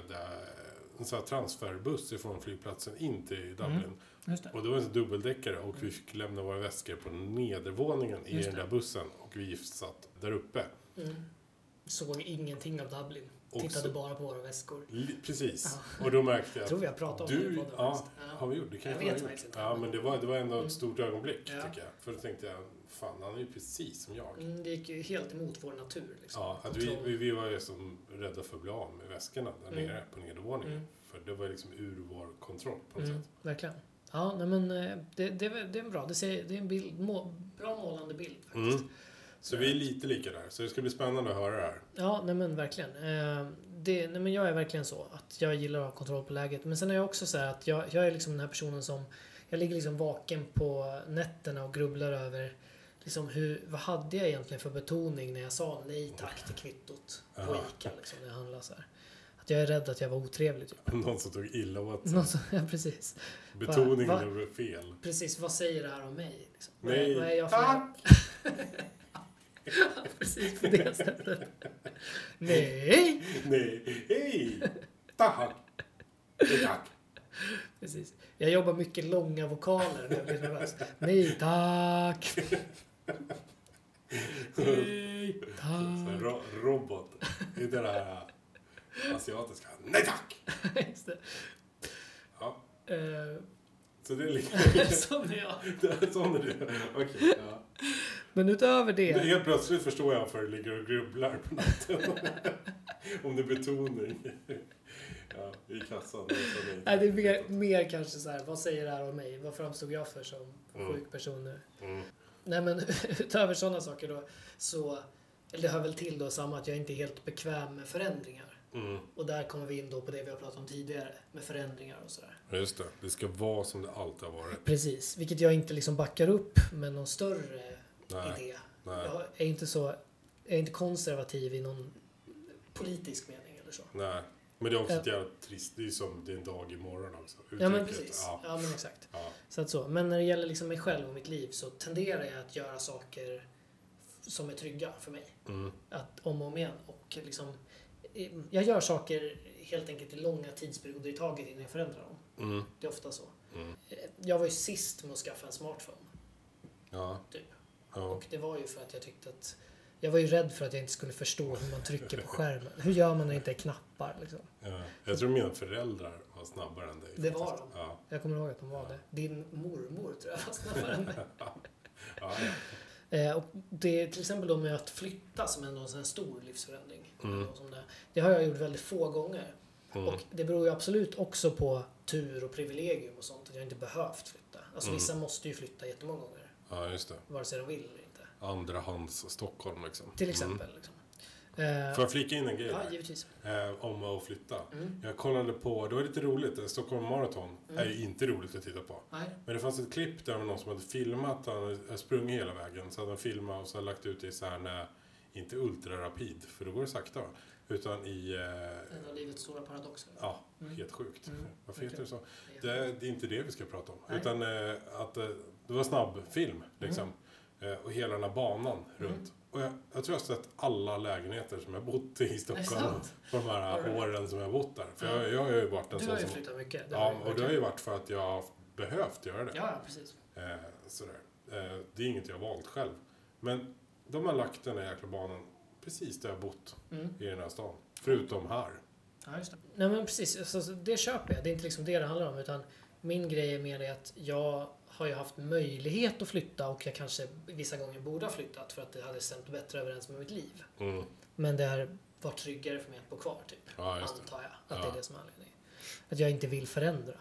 en sån här transferbuss ifrån flygplatsen in Mm. till Dublin. Just det. Och det var en dubbeldäckare och vi fick lämna våra väskor på nedervåningen i Mm. Just den där bussen. Och vi satt där uppe. Mm. Såg ingenting av Dublin. Och Tittade så- bara på våra väskor. Li- Precis. Och då märkte jag Jag tror vi har pratat om det i du, podden ja, faktiskt. Ja. har vi gjort? Det kan Jag vi ha vet gjort. faktiskt inte. Mm. Ja, men det var, det var ändå ett stort ögonblick, Ja. tycker jag. För då tänkte jag, fan, han är ju precis som jag. Mm, det gick ju helt emot vår natur. Liksom. Ja, att vi, vi, vi var ju som rädda för att bli av med väskorna där Mm. nere på nedervåningen. För det var liksom ur vår kontroll på något Mm, sätt. verkligen. Ja, nej, men eh, det, det, är väl- det är en bra. Det, ser, det är en bild, må, bra målande bild Mm. faktiskt. Så vi är lite lika där. Så det ska bli spännande att höra det här. Ja, nej men verkligen. Eh, Det, nej men jag är verkligen så. Att jag gillar att ha kontroll på läget. Men sen är jag också så här att jag, jag är liksom den här personen som... Jag ligger liksom vaken på nätterna och grubblar över liksom hur, vad hade jag egentligen för betoning när jag sa nej tack till kvittot på Ica liksom, när jag handlade så här. Att jag är rädd att jag var otrevlig typ. Någon som tog illa åt sig. Någon som, ja, precis. Betoningen Va? blev fel. Precis, vad säger det här om mig? Liksom? Nej, vad är jag för... tack! precis på det sättet. Nej! Nej, hej! Tack! Nej, Tack! Precis. Jag jobbar mycket långa vokaler när jag blir nervös. Nej tack! Nej Så en tack! ro robot. Det är det här asiatiska. Nej tack! Just Ja, det. Eh, så det är lika... Sån är jag. det är Sån är det. Okej. ja. Men utöver Men det. Helt plötsligt förstår jag varför du ligger och grubblar på natten. Om det är betoning. Ja, i kassan. Det är så Nej, det är mer, mer kanske så här, vad säger det här om mig? Vad framstod jag för som sjuk person nu? Nej men utöver sådana saker då så, eller det hör väl till då samma att jag inte är helt bekväm med förändringar. Mm, Och där kommer vi in då på det vi har pratat om tidigare med förändringar och sådär. just det. Det ska vara som det alltid har varit. Precis, vilket jag inte liksom backar upp med någon större Nej, idé. nej. Jag är inte så, jag är inte konservativ i någon politisk mening eller så. Nej. Men det är också ett jävla trist... Det är som det är en dag imorgon också. Ja men Uttrycket, precis, Ja. ja men exakt. Ja. Så att så. Men när det gäller liksom mig själv och mitt liv så tenderar jag att göra saker f- som är trygga för mig. Mm, Att om och om igen. Och liksom, eh, jag gör saker helt enkelt i långa tidsperioder i taget innan jag förändrar dem. Mm. Det är ofta så. Eh, Jag var ju sist med att skaffa en smartphone. Ja. Typ. ja. Och det var ju för att jag tyckte att jag var ju rädd för att jag inte skulle förstå hur man trycker på skärmen. Hur gör man när det inte är knappar? Liksom? Ja, jag tror mina föräldrar var snabbare än dig. Det var faktiskt. de. Ja, Jag kommer ihåg att de var det. Din mormor tror jag var snabbare än mig. ja, ja. Eh, och det är till exempel då med att flytta som ändå är en sån här stor livsförändring. Och Som det, det har jag gjort väldigt få gånger. Mm. Och det beror ju absolut också på tur och privilegium och sånt. Att jag inte behövt flytta. Alltså vissa måste ju flytta jättemånga gånger. ja just det. Vare sig de vill eller inte. Andrahands Stockholm liksom. Mm. Till exempel. Liksom. Eh, Får jag flika in en grej ja, där? givetvis. Mm. eh, om att flytta. Jag kollade på, det var lite roligt, eh, Stockholm Marathon är ju inte roligt att titta på. Nej. Men det fanns ett klipp där det var någon som hade filmat, han hade eh, sprungit hela vägen. Så hade han filmat och så hade lagt ut det i så här, när, inte ultrarapid, för då går det sakta. va? Utan i, eh, En av livets stora paradoxer. ja, helt sjukt. Varför heter det så? Det är- Det, det är inte det vi ska prata om. Nej. Utan eh, att eh, det var snabbfilm, liksom. Eh, och hela den här banan runt. Och jag, jag tror jag har sett alla lägenheter som jag bott i i Stockholm sant? på de här Har du? åren som jag bott där. För Ja. jag, jag har ju varit en Du sån har ju som... flyttat mycket. det har Ja, jag och det har verkligen. ju varit för att jag har behövt göra det. Ja, ja, precis. Eh, sådär. Eh, det är inget jag har valt själv. Men de har lagt den här jäkla banan precis där jag bott Mm. i den här stan. Förutom här. Ja, just det. Nej men precis, alltså, så det köper jag. Det är inte liksom det det handlar om. Utan min grej är mer det att jag har ju haft möjlighet att flytta och jag kanske vissa gånger borde ha flyttat för att det hade stämt bättre överens med mitt liv. Mm. Men det har varit tryggare för mig att bo kvar typ. Ja, just det. antar jag att det Ja. är det som är anledningen. Att jag inte vill förändra.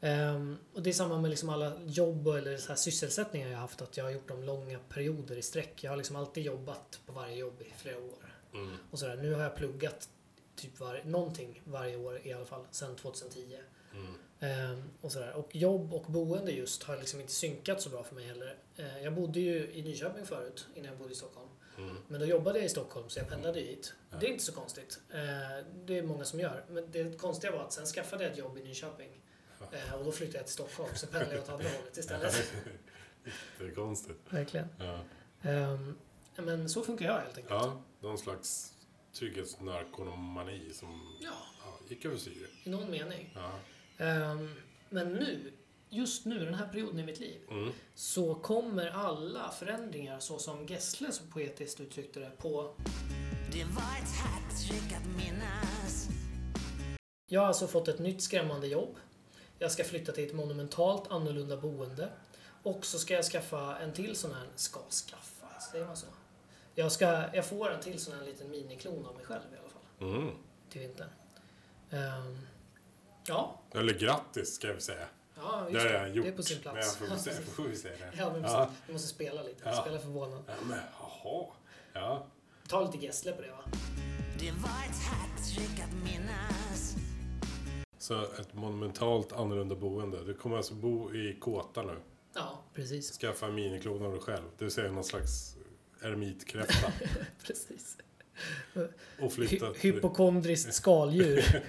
Ehm, och det är samma med liksom alla jobb och- eller så här sysselsättningar jag har haft. Att jag har gjort dem långa perioder i sträck. Jag har liksom alltid jobbat på varje jobb i flera år. Mm. Och sådär. Nu har jag pluggat typ var, någonting varje år i alla fall sedan 2010. Mm. Ehm, och, sådär. och jobb och boende just har liksom inte synkat så bra för mig heller. Eh, jag bodde ju i Nyköping förut innan jag bodde i Stockholm. Mm. Men då jobbade jag i Stockholm så jag pendlade hit. Ja. Det är inte så konstigt. Eh, det är många som gör. Men det konstiga var att sen skaffade jag ett jobb i Nyköping. Eh, och då flyttade jag till Stockholm så pendlade jag åt andra hållet istället. Det är konstigt. Verkligen. Ja. Ehm, men så funkar jag helt enkelt. ja, någon slags trygghetsnarkomani som ja ja, gick över styr. i någon mening. Ja. Ehm, men nu, just nu, den här perioden i mitt liv, Mm. så kommer alla förändringar så som Gessle så poetiskt uttryckte det på Det var ett hattrick att minnas Jag har alltså fått ett nytt skrämmande jobb. Jag ska flytta till ett monumentalt annorlunda boende. Och så ska jag skaffa en till sån här... Ska skaffa? Säger man så? Jag, ska, jag får en till sån här liten miniklon av mig själv i alla fall. Mm. Till vintern. Ehm, ja, Eller grattis ska vi säga. ja just Det har jag gjort. det är på sin Men jag plats. får väl säga, får vi säga det. Ja, men precis. ja. Du måste spela lite. Ja. Spela förvånad. ja, men jaha. Ja. Ta lite Gessle på det va? Det var ett hattrick att minnas Så ett monumentalt annorlunda boende. Du kommer alltså bo i kåta nu. Ja, precis. Skaffa en miniklon av dig själv. Du säger någon slags eremitkräfta. precis. Och flytta Hy- till... hypokondriskt skaldjur.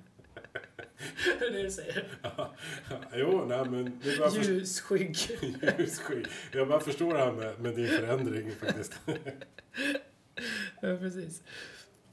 det är det du säger. jo, nej men... Det är bara för... Ljusskygg. Ljusskygg. Jag bara förstår det här med, med din förändring faktiskt. ja, precis.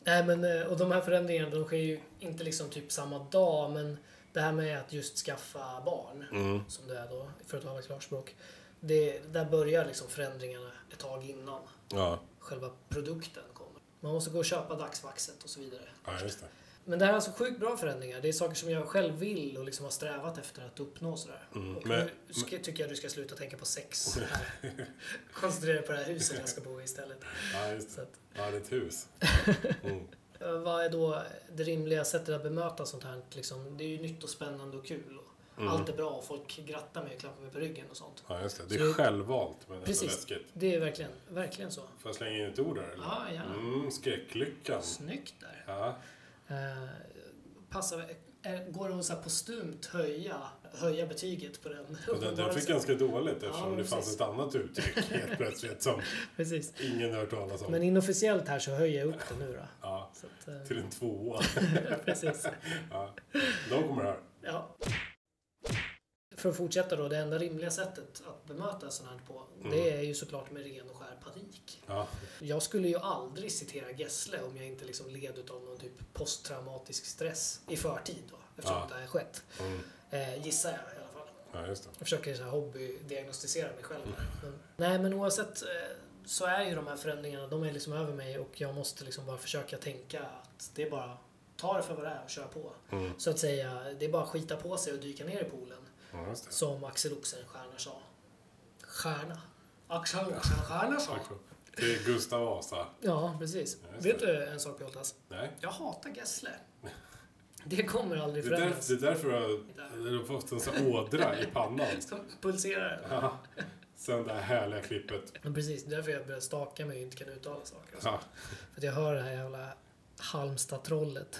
Nej, men, eh, och de här förändringarna de sker ju inte liksom typ samma dag, men det här med att just skaffa barn, som det är då, för att tala klarspråk. Det, där börjar liksom förändringarna ett tag innan Ja, själva produkten kommer. Man måste gå och köpa dagsvaxet och så vidare. ja just det. Men det här är alltså sjukt bra förändringar. Det är saker som jag själv vill och liksom har strävat efter att uppnå. och Sådär. Och Mm, men- nu ska, tycker jag du ska sluta tänka på sex. här. Koncentrera dig på det här huset jag ska bo i istället. Ja, just Så det. att, Ja, det är ett hus. Mm. eh, vad är då det rimliga sättet att bemöta sånt här? Liksom, det är ju nytt och spännande och kul. Och Mm. Allt är bra och folk grattar mig och klappar mig på ryggen och sånt. Ja, just det. Det Så är det- självvalt, men ändå Precis, läskigt. det är verkligen, verkligen så. Får jag slänga in ett ord där? Eller? Ja, gärna. Mm, skräcklyckan. Snyggt där. Ja. Eh, passar, är, går det att så här postumt höja, höja betyget på den? Och Den, den fick ganska dåligt eftersom liksom- Ja, det fanns precis. ett annat uttryck helt plötsligt som Precis. ingen hört talas om. Men inofficiellt här så höjer jag upp det nu då. Ja, Så att, eh, till en tvåa. precis. Ja. De kommer här. Ja. För att fortsätta då, det enda rimliga sättet att bemöta sånt här på, det är ju såklart med ren och skär panik. Ja. Jag skulle ju aldrig citera Gessle om jag inte liksom led utav någon typ posttraumatisk stress i förtid då, eftersom Ja. det här har skett. Mm. Eh, gissar jag i alla fall. ja, just det. Jag försöker så här hobbydiagnostisera mig själv. här. Men, nej, men oavsett eh, så är ju de här förändringarna, de är liksom över mig och jag måste liksom bara försöka tänka att det är bara ta det för vad det är och köra på. Mm. Så att säga, det är bara att skita på sig och dyka ner i poolen. Ja, just det. Som Axel Oxenstierna sa. Stjärna. Axel Oxenstierna sa. Det är Gustav Vasa. Ja, precis. Vet du en sak Pjoltas? Nej. Jag hatar Gessle. Det kommer aldrig Det är, där, förändras. det är därför jag jag har fått en sån här ådra i pannan. Som pulserar. Ja. Sen det här härliga klippet. Men precis, det är därför jag börjar staka mig och inte kan uttala saker. och så. Ja, För att jag hör det här jävla Halmstad-trollet.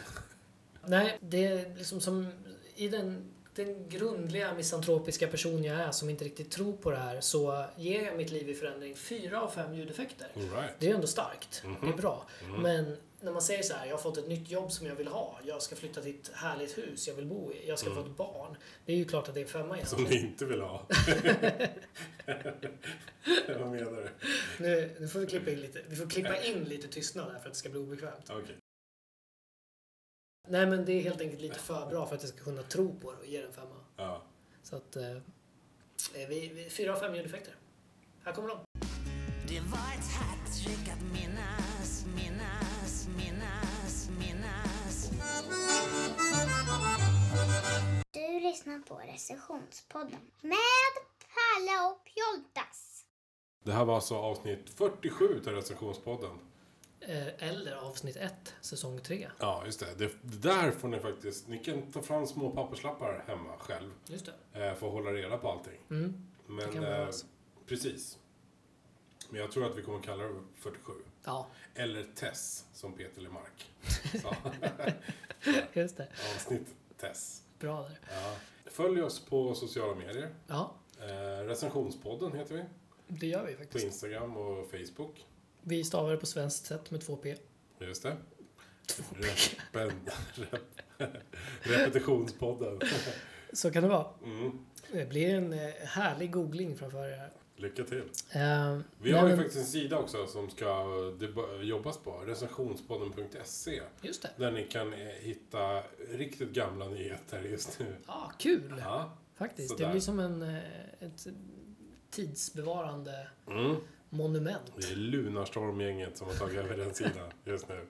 Nej, det är liksom som i den, den grundliga misantropiska person jag är som inte riktigt tror på det här så ger jag mitt liv i förändring fyra av fem ljudeffekter. all right. Det är ju ändå starkt. Det är bra. Men när man säger så här, jag har fått ett nytt jobb som jag vill ha. Jag ska flytta till ett härligt hus jag vill bo i. Jag ska få ett barn. Det är ju klart att det är en femma igen. Som ni inte vill ha. Vad menar du? Nu, nu får vi klippa in lite, vi får klippa in lite tystnad här för att det ska bli obekvämt. Okej. Nej men det är helt enkelt lite för bra för att jag ska kunna tro på det och ge den femma. Ja. Så att... Eh, vi, vi, fyra av fem ljudeffekter. Här kommer de. Det var ett hattrick att minnas, minnas, minnas, minnas. Du lyssnar på recensionspodden med Palle och Pjoltas. Det här var alltså avsnitt 47 till recensionspodden. Eh, eller avsnitt 1, säsong 3. Ja, just det. det. Det där får ni faktiskt... Ni kan ta fram små papperslappar hemma själv. Just det. eh, för att hålla reda på allting. Mm. det Men, kan eh, behövas. precis. Men jag tror att vi kommer kalla det 47. Ja, Eller Tess, som Peter Lemark sa. just det. Avsnitt Tess. Bra där. Ja. Följ oss på sociala medier. Ja, Eh, recensionspodden heter vi. det gör vi På faktiskt. Instagram och Facebook. Vi stavar det på svenskt sätt med två P. Just det. Repen, rep, repetitionspodden. Så kan det vara. Mm. Det blir en eh, härlig googling framför er. Lycka till. Eh, Vi nej, har ju men- faktiskt en sida också som ska det bör- jobbas på. Recensionspodden.se. Just det. E, Där ni kan eh, hitta riktigt gamla nyheter just nu. Ja, kul! Ja. Faktiskt. Sådär. Det blir som en, eh, ett tidsbevarande Mm. monument. Det är Lunarstormgänget som har tagit över den sidan just nu.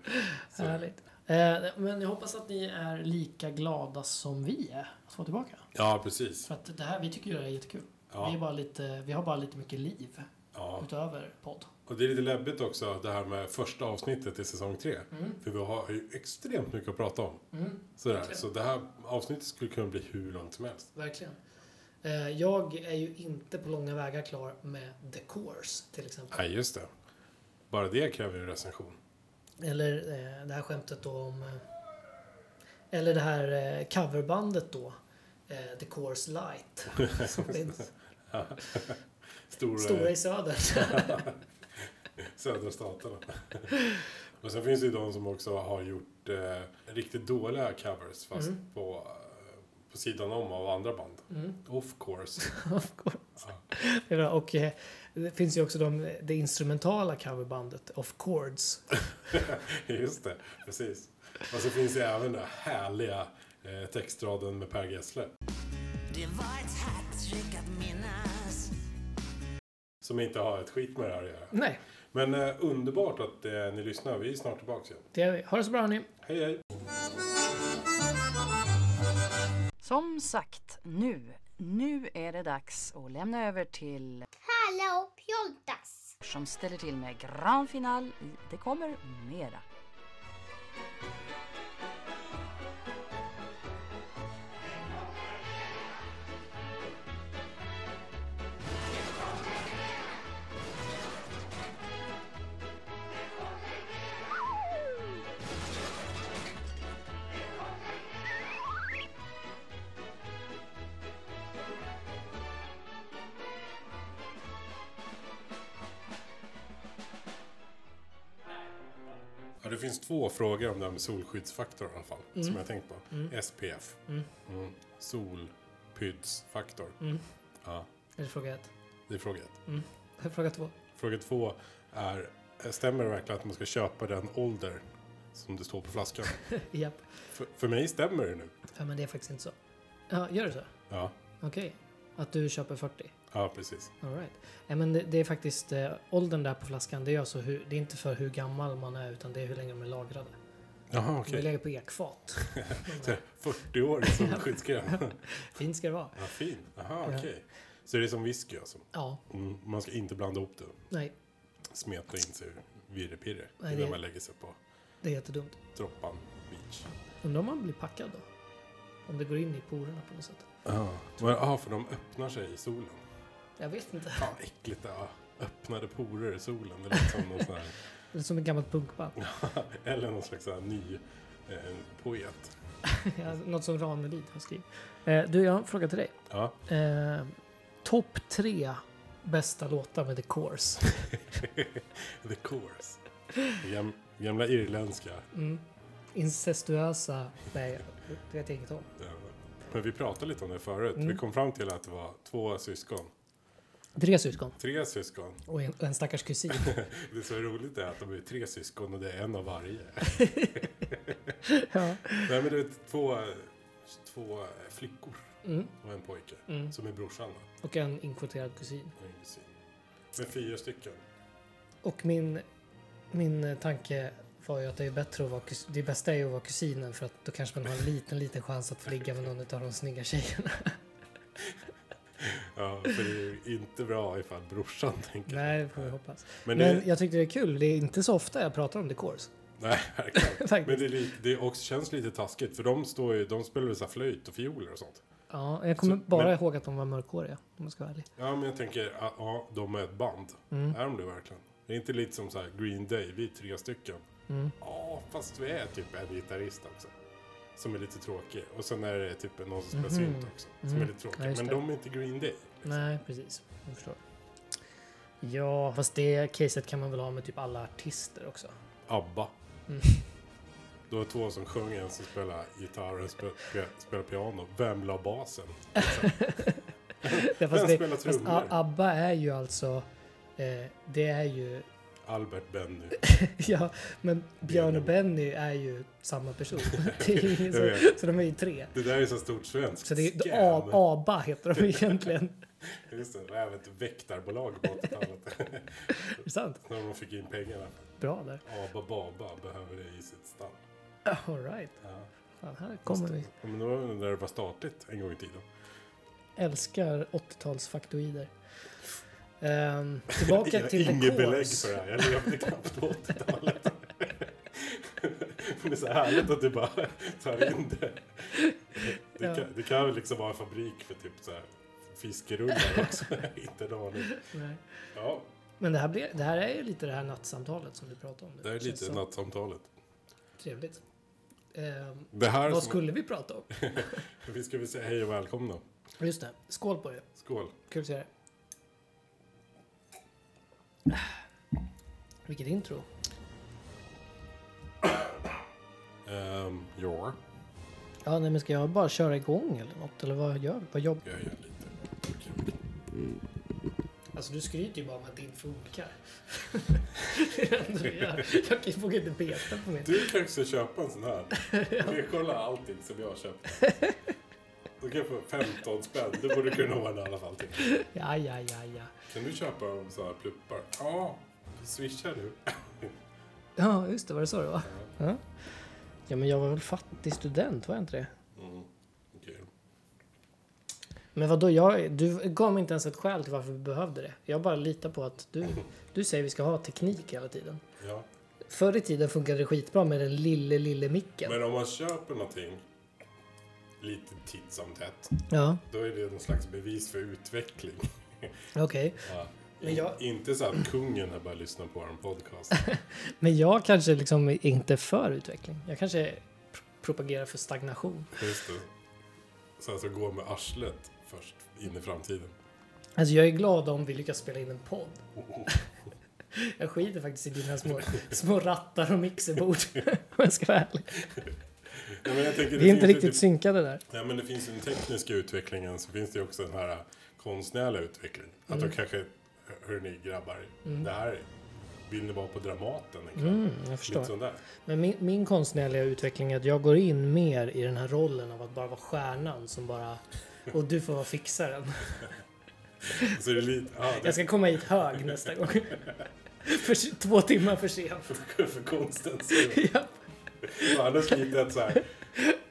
Så, Härligt. Eh, men jag hoppas att ni är lika glada som vi är att vara tillbaka. ja, precis. För att det här, vi tycker ju det här är jättekul. Ja. Vi, är bara lite, vi har bara lite mycket liv Ja. utöver podd. Och det är lite läbbigt också det här med första avsnittet i säsong tre. Mm. För vi har ju extremt mycket att prata om. Sådär. Så det här avsnittet skulle kunna bli hur långt som helst. Verkligen. Eh, jag är ju inte på långa vägar klar med The Course till exempel. Nej, just det. Bara det kräver ju en recension. Eller eh, det här skämtet då om... Eh, eller det här eh, coverbandet då. Eh, The Course Light. Som finns. Stora, Stora i söder. södra staterna. och sen finns det ju de som också har gjort eh, riktigt dåliga covers fast på, eh, på sidan om av andra band. Of course. of course. Det är bra. Och eh, det finns ju också de, det instrumentala coverbandet Of Chords. Just det, precis. Och så finns det även den härliga eh, textraden med Per Gessle. Det var ett hattrick att minnas. Som inte har ett skit med det här att göra. Nej, Men eh, underbart att eh, ni lyssnar. Vi är snart tillbaka igen. det gör vi. Ha det så bra hörni. Hej hej! Som sagt, nu, nu är det dags att lämna över till Palle och Pjoltas. som ställer till med grand final i Det kommer mera. Ja, det finns två frågor om det här med solskyddsfaktor i alla fall. Som jag har tänkt på. SPF. Mm. Solpyddsfaktor. Ja, Är det fråga ett? det är fråga ett. Det är Fråga två. Fråga två är, stämmer det verkligen att man ska köpa den ålder som det står på flaskan? Japp. för, för mig stämmer det nu. Ja, men det är faktiskt inte så. Ja, gör det så? Ja, Okej. Att du köper 40? ja precis. Alright. Ja, men det, det är faktiskt eh, åldern där på flaskan. Det är, alltså hur, det är inte för hur gammal man är utan det är hur länge de är lagrade. Jaha, De okej. är lägger på ekfat. eh, Så här, 40 år i solskyddscreme. Fint ska det vara. ja, fin. Jaha, okej. Så det är som whisky alltså. Ja, Mm, Man ska inte blanda ihop det. nej. Smeta in sig virrepirre. Nej, Innan det- man lägger sig på Det är jättedumt. droppan beach. Undrar om man blir packad då? Om det går in i porerna på något sätt. Ja, men- ja, för de öppnar sig i solen. Jag vet inte. Fan vad äckligt det var. Öppnade porer i solen. Det lät som någon sån här... Det är som ett gammalt punkband. Eller någon slags så här ny eh, poet. Ja, Något som Ranelid har skrivit. Eh, du, jag har en fråga till dig. Ja. Eh, Topp tre bästa låtar med The Course. The Course. Gam, gamla irländska. Mm. Incestuösa... Nej, det vet jag inget om. eh, Men vi pratade lite om det förut. Mm. Vi kom fram till att det var två syskon. Tre syskon Tre syskon. och en, och en stackars kusin. Det som är roligt är att de är tre syskon och det är en av varje. ja. Nej men det är två, två flickor och en pojke. Som är brorsan då. Mm. Och en inkvoterad kusin. och en kusin. Med fyra stycken. Och min, min eh, tanke var ju att det, är bättre att vara, kus- det bästa är ju att vara kusinen för att då kanske man har en liten, liten chans att få ligga med någon av de snygga tjejerna. Ja, för det är ju inte bra ifall brorsan tänker. Nej, det får vi hoppas. Men, Men, det, jag tyckte det är kul. Det är inte så ofta jag pratar om The Course. nej, verkligen. Faktiskt. Men det, är lite, det är också, känns lite taskigt för de, står ju, de spelar väl så här flöjt och fioler och sånt. Ja, jag kommer Så- bara men- ihåg att de var mörkhåriga om jag ska vara ärlig. Ja, men jag tänker att ja, de är ett band. Mm. Är de det verkligen? Det är inte lite som så här Green Day, vi är tre stycken. Mm. Ja, fast vi är typ en gitarrist också. Som är lite tråkig. Och sen är det typ någon som spelar synt också. Som är lite tråkig. Mhm. Mm. Ja, just men det. de är inte Green Day. Nej, precis. Jag förstår. Ja, fast det caset kan man väl ha med typ alla artister också. ABBA. Mm. Du har två som sjöng, en som spelar gitarr och en som spe- spe- spelar piano. Vem la basen? Ja, fast Vem det, spelar fast trummor? A- ABBA är ju alltså... Eh, det är ju... Albert Benny. Ja, men Björn och Benny är ju samma person. Det är ju ingen Jag som, vet. så de är ju tre. Det där är så stort svenskt. Så det är, Scam. A- ABBA heter de egentligen. Just det, det var även ett väktarbolag på 80-talet. Är det sant? När de fick in pengarna. Bra där. Abba Baba behöver det i sitt stall. All right. Ja. Fan, här kommer vi. Ja, Men det var väl när det var statligt en gång i tiden. Älskar 80-talsfaktoider. Ehm, tillbaka till jag har inget The belägg Course. för det här. Jag levde knappt på 80-talet. Men det är så härligt att du bara tar in det. Det, Ja. kan, det kan väl liksom vara en fabrik för typ så här fiskerullar också. Inte en aning. Nej. Ja, Men det här, blir, det här är ju lite det här nattsamtalet som du pratade om. nu. det är Känns lite som- nattsamtalet. Trevligt. Ehm, Det här vad som, skulle vi prata om? Vi ska väl säga hej och välkomna. Just det. Skål på det. Skål. Kul att se dig. Vilket intro. Um, ja, Ja, nej, men ska jag bara köra igång eller något? Eller vad gör vi? Vad jobb? jag gör lite. Kul. Alltså du skryter ju bara om att din funkar. det är det enda du gör. Jag kan- vågar inte beta på min. Du kan också köpa en sån här. Vi kollar allting som jag har köpt. Du kan få 15 spänn. Det borde kunna ordna i alla fall. Till. Ja, ja, ja, ja. Kan du köpa en sån här pluppar? Ja, swishar du? Ja, just det. Var det så det var? Ja. Ja, men jag var väl fattig student, var jag inte det? Okej. Men vadå, jag, du gav mig inte ens ett skäl till varför vi behövde det. Jag bara litar på att du, du säger vi ska ha teknik hela tiden. Ja. Förr i tiden funkade det skitbra med den lille, lille micken. Men om man köper någonting lite titt som tätt, Ja, då är det någon slags bevis för utveckling. okej. Ja. Men jag- Inte så att kungen har börjat lyssna på en podcast. Men jag kanske liksom är inte är för utveckling. Jag kanske pr- propagerar för stagnation. Just det. Så att gå med arslet först in i framtiden. Alltså jag är glad om vi lyckas spela in en podd. Jag skiter faktiskt i dina små, små rattar och mixerbord. Om jag ska vara ärlig. Nej, men jag tänker, det Vi är inte finns ju riktigt typ- synkade där. Nej, men det finns ju den tekniska utvecklingen så finns det ju också den här konstnärliga utvecklingen. Att Mm. då kanske, hörni grabbar, det här vill ni vara på Dramaten en kväll? Jag Lite Mm, förstår. sånt där. Men min, min konstnärliga utveckling är att jag går in mer i den här rollen av att bara vara stjärnan som bara... Och du får vara fixaren. Så Alltså, det är lite, ja, det Jag ska komma hit hög nästa gång. För, två timmar för sent. för, för konstens skull. Ja. Så Annars lite att så här,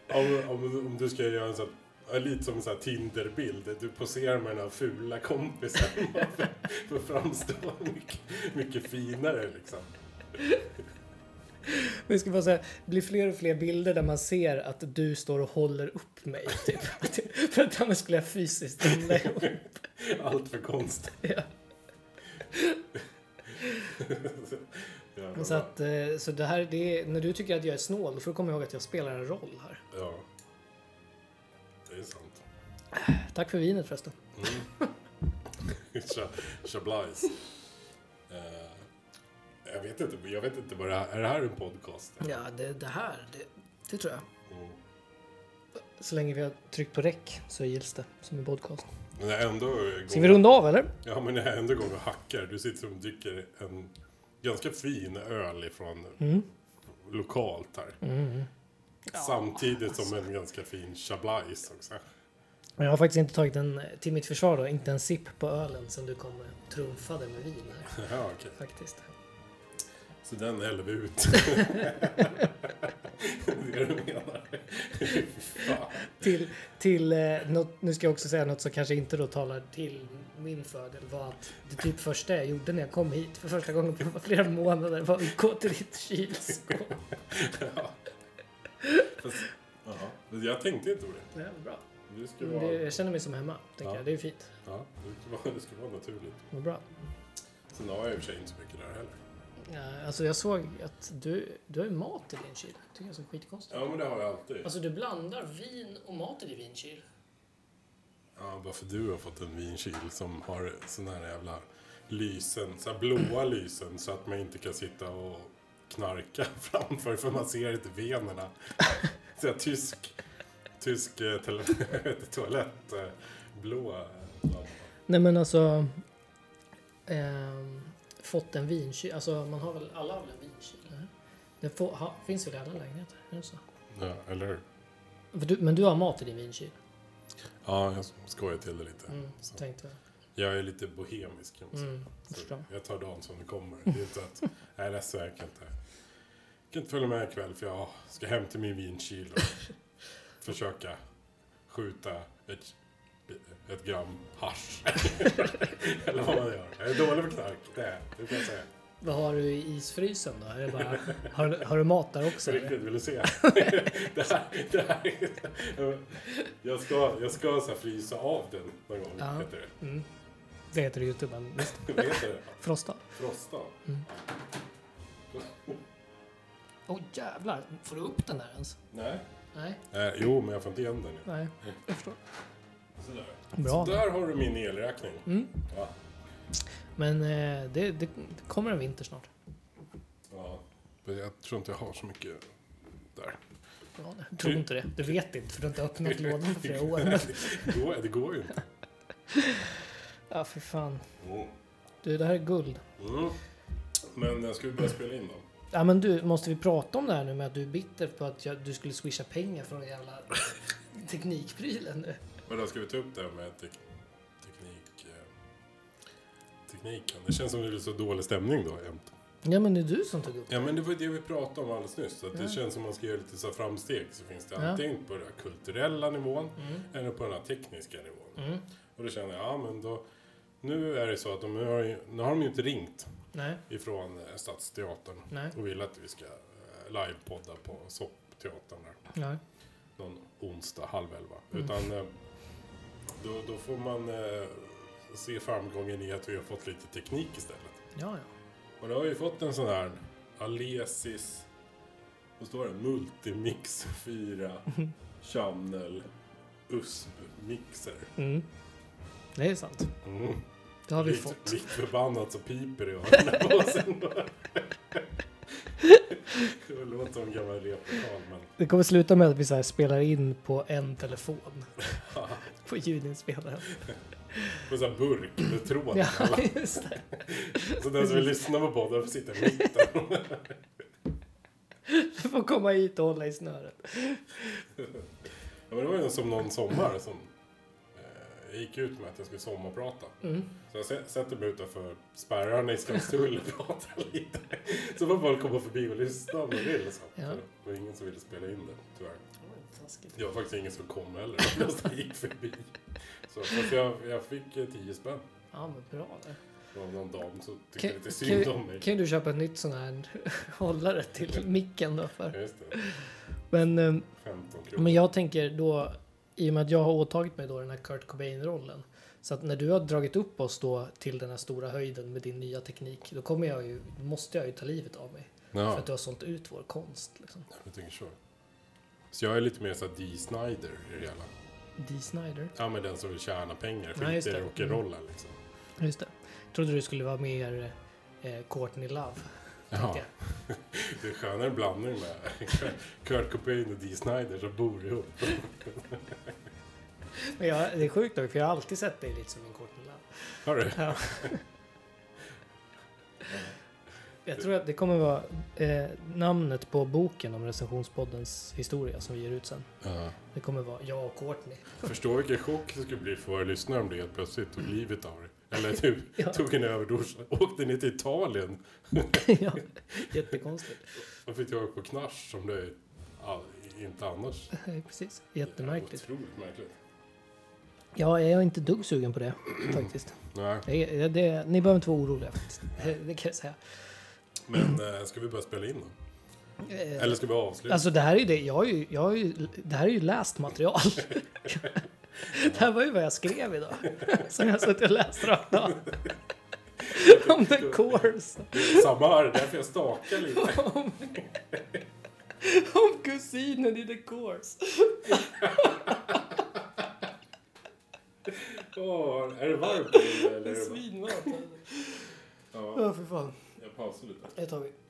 om, om, om du ska göra en sån här, lite som en sån här Tinder-bild. Du poserar med den här fula kompisen bara för, för att framstå mycket, mycket finare liksom. Vi ska bara säga, det blir fler och fler bilder där man ser att du står och håller upp mig. Typ. För att annars skulle jag fysiskt ramla ihop. Allt för konst. Ja. Jävlar. Så, att, eh, så det här, det är, när du tycker att jag är snål, då får du komma ihåg att jag spelar en roll här. Ja. Det är sant. Tack för vinet förresten. Cha- Chablais. Eh, jag vet inte, jag vet inte vad det här, är det här en podcast? Ja, det, det här, det, det tror jag. Mm. Så länge vi har tryckt på räck så gills det som en podcast. Men jag ändå Ska vi runda av eller? Ja, men jag ändå går och hackar. Du sitter och dricker en ganska fin öl ifrån Mm. lokalt här. Samtidigt som en ganska fin chablais också. Men Jag har faktiskt inte tagit en, till mitt försvar då, inte en sipp på ölen sen du kom och trumfade med vin här Ja, okej. faktiskt. Så den häller vi ut. det är det du menar? Fy fan. Till, till eh, något, nu ska jag också säga något som kanske inte då talar till min fördel var att det typ första jag gjorde när jag kom hit för första gången på flera månader var att gå till ditt kylskåp. Ja. Fast, ja. Men jag tänkte inte på det. Det här var bra. Det skulle Men Det, vara, jag känner mig som hemma, tänker Ja. jag. Det är fint. ja, det skulle vara, det skulle vara naturligt. Vad bra. Sen har jag i och för sig inte så mycket där heller. Eh, Alltså jag såg att du, du har ju mat i din kyl. tycker jag är så skitkonstigt. Ja, men det har jag alltid. Alltså du blandar vin och mat i din vinkyl. Ja, bara för du har fått en vinkyl som har såna här jävla lysen, så här blåa lysen så att man inte kan sitta och knarka framför för man ser inte venerna. Så här, tysk, tysk eh, tele- jag vet inte, toalett, eh, blå eh, lampa. Nej men alltså... ehm, fått en vinkyl. Alltså man har väl, alla har väl en vinkyl? Eller? Det får, ha, finns väl i alla lägenheter? Är det så? Ja, eller hur? För Du, men du har mat i din vinkyl? Ja, jag skojar till det lite. Mm, Så. tänkte jag. Jag är lite bohemisk kan man säga. Mm, Så förstår. jag tar dagen som den kommer. Det är inte att, nej jag är ledsen, jag kan inte, jag kan inte följa med ikväll för jag ska hem till min vinkyl och försöka skjuta ett, ett gram hasch. Eller vad man gör. Jag är dålig på knark, det är jag. det kan jag säga. Vad har du i isfrysen då? Är det bara, har, du- har du mat där också? Så Eller? riktigt, vill du se? det här, det här är, jag ska, jag ska så här frysa av den någon gång, Ja. heter det. Det heter det Youtube, men visst. Vad heter det? Frosta. Frosta? Åh jävlar, får du upp den där ens? Nej. Nej, Eh, jo, men jag får inte igen den. nu. nej. Sådär. Bra. Mm. Så där har du min elräkning. Ja. Men eh, det, det kommer en vinter snart. ja. Men Jag tror inte jag har så mycket där. Ja, jag tror inte det. Du vet inte för du har inte öppnat lådan på flera år. Men, Det går, det går ju inte. ja, för fan. Mm. Du, det här är guld. Mm. Men jag ska vi börja spela in då? Ja, men du, måste vi prata om det här nu med att du är bitter på att jag, du skulle swisha pengar från den jävla teknikprylen nu? Men då ska vi ta upp det här med tek teknik... Eh, tekniken. Det känns som det blir så dålig stämning då jämt. Ja, men det är du som tog upp det. Ja, men det var ju det vi pratade om alldeles nyss. Att Det känns som man ska göra lite så här framsteg så finns det Ja. Mm. antingen på den här kulturella nivån eller på den här tekniska nivån. Och då känner jag, ja men då... Nu är det så att de har, ju- nu har de ju inte ringt Nej, ifrån eh, Stadsteatern Nej. och vill att vi ska eh, livepodda på Soppteatern där nej. någon onsdag halv elva. Utan eh, då, då får man eh, se framgången i att vi har fått lite teknik istället. Ja, ja. Och då har vi fått en sån här Alesis, vad står det? Multimix 4 Channel USB-mixer. Mm. Det är sant. Mm. Det har vi Likt fått. likt typ förbannat så piper det i öronen på oss ändå. Det låter som en gammal replokal men... Det kommer sluta med att vi så här spelar in på en telefon. på ljudinspelaren. På sån här burk med tråd. Ja, just det. Så den som vill lyssna på podden får sitta i mitten. Du får komma hit och hålla i snöret. Ja, men det var ju som någon sommar som eh, jag gick ut med att jag skulle sommarprata. Mm. Så jag sä- sätter mig utanför spärrarna i Skamstull och pratar lite. Så får folk komma förbi och lyssna om de vill. Så. Ja. Det var ingen som ville spela in det, tyvärr. Oj, taskigt. Det var faktiskt ingen som kom heller. De flesta gick förbi. Så, fast jag, jag fick eh, 10 spänn. Ja, men bra där. av någon dam så tyckte Kan, lite synd om kan, mig. kan du köpa ett nytt sån här hållare till micken då? För? Ja, Just det, Men, eh, 15 kronor. men jag tänker då, i och med att jag har åtagit mig då den här Kurt Cobain-rollen. Så att när du har dragit upp oss då till den här stora höjden med din nya teknik. Då kommer jag ju, måste jag ju ta livet av mig. För Ja, att du har sålt ut vår konst. Liksom. jag tänker så. Så jag är lite mer såhär Dee Snider i det hela. Dee Snider. Ja, men den som vill tjäna pengar. Ja, just Skiter i det. Mm. rock'n'rollen liksom. Just det. Trodde du skulle vara mer eh, Courtney Love. Ja. Ja. Det är skönare blandning med Kurt Cobain och Dee Snider som bor ihop. Men jag, det är sjukt dock, för jag har alltid sett dig lite som en Courtney Love. Har du? Ja. Jag tror att det kommer vara eh, namnet på boken om recensionspoddens historia som vi ger ut sen. Ja. Det kommer vara jag och Courtney. Förstår vilken chock det skulle bli för våra lyssnare om du helt plötsligt tog livet av dig. Eller typ tog en överdos. Åkte ner till Italien. ja, jättekonstigt. Då fick jag på knarsch som det ja, inte annars. Eh, Precis, jättemärkligt. Otroligt märkligt. Ja, jag är inte dugg sugen på det faktiskt. Nej, Det, är- det, ni behöver inte vara oroliga faktiskt. Det, det kan jag säga. men eh, ska vi börja spela in då? Eh, Eller ska vi avsluta? Alltså det här är ju det, jag har ju, jag har ju, det här är ju läst material. det här var ju vad jag skrev idag. Som jag suttit och läst rakt av. Om the course. Samma här, därför jag stakar lite. Om kusinen i the course. Åh, är det Alltså, varmt? Eller? är det bara- Svinmat. Ja, Ja, för fan. jag pausar lite. Det tar vi.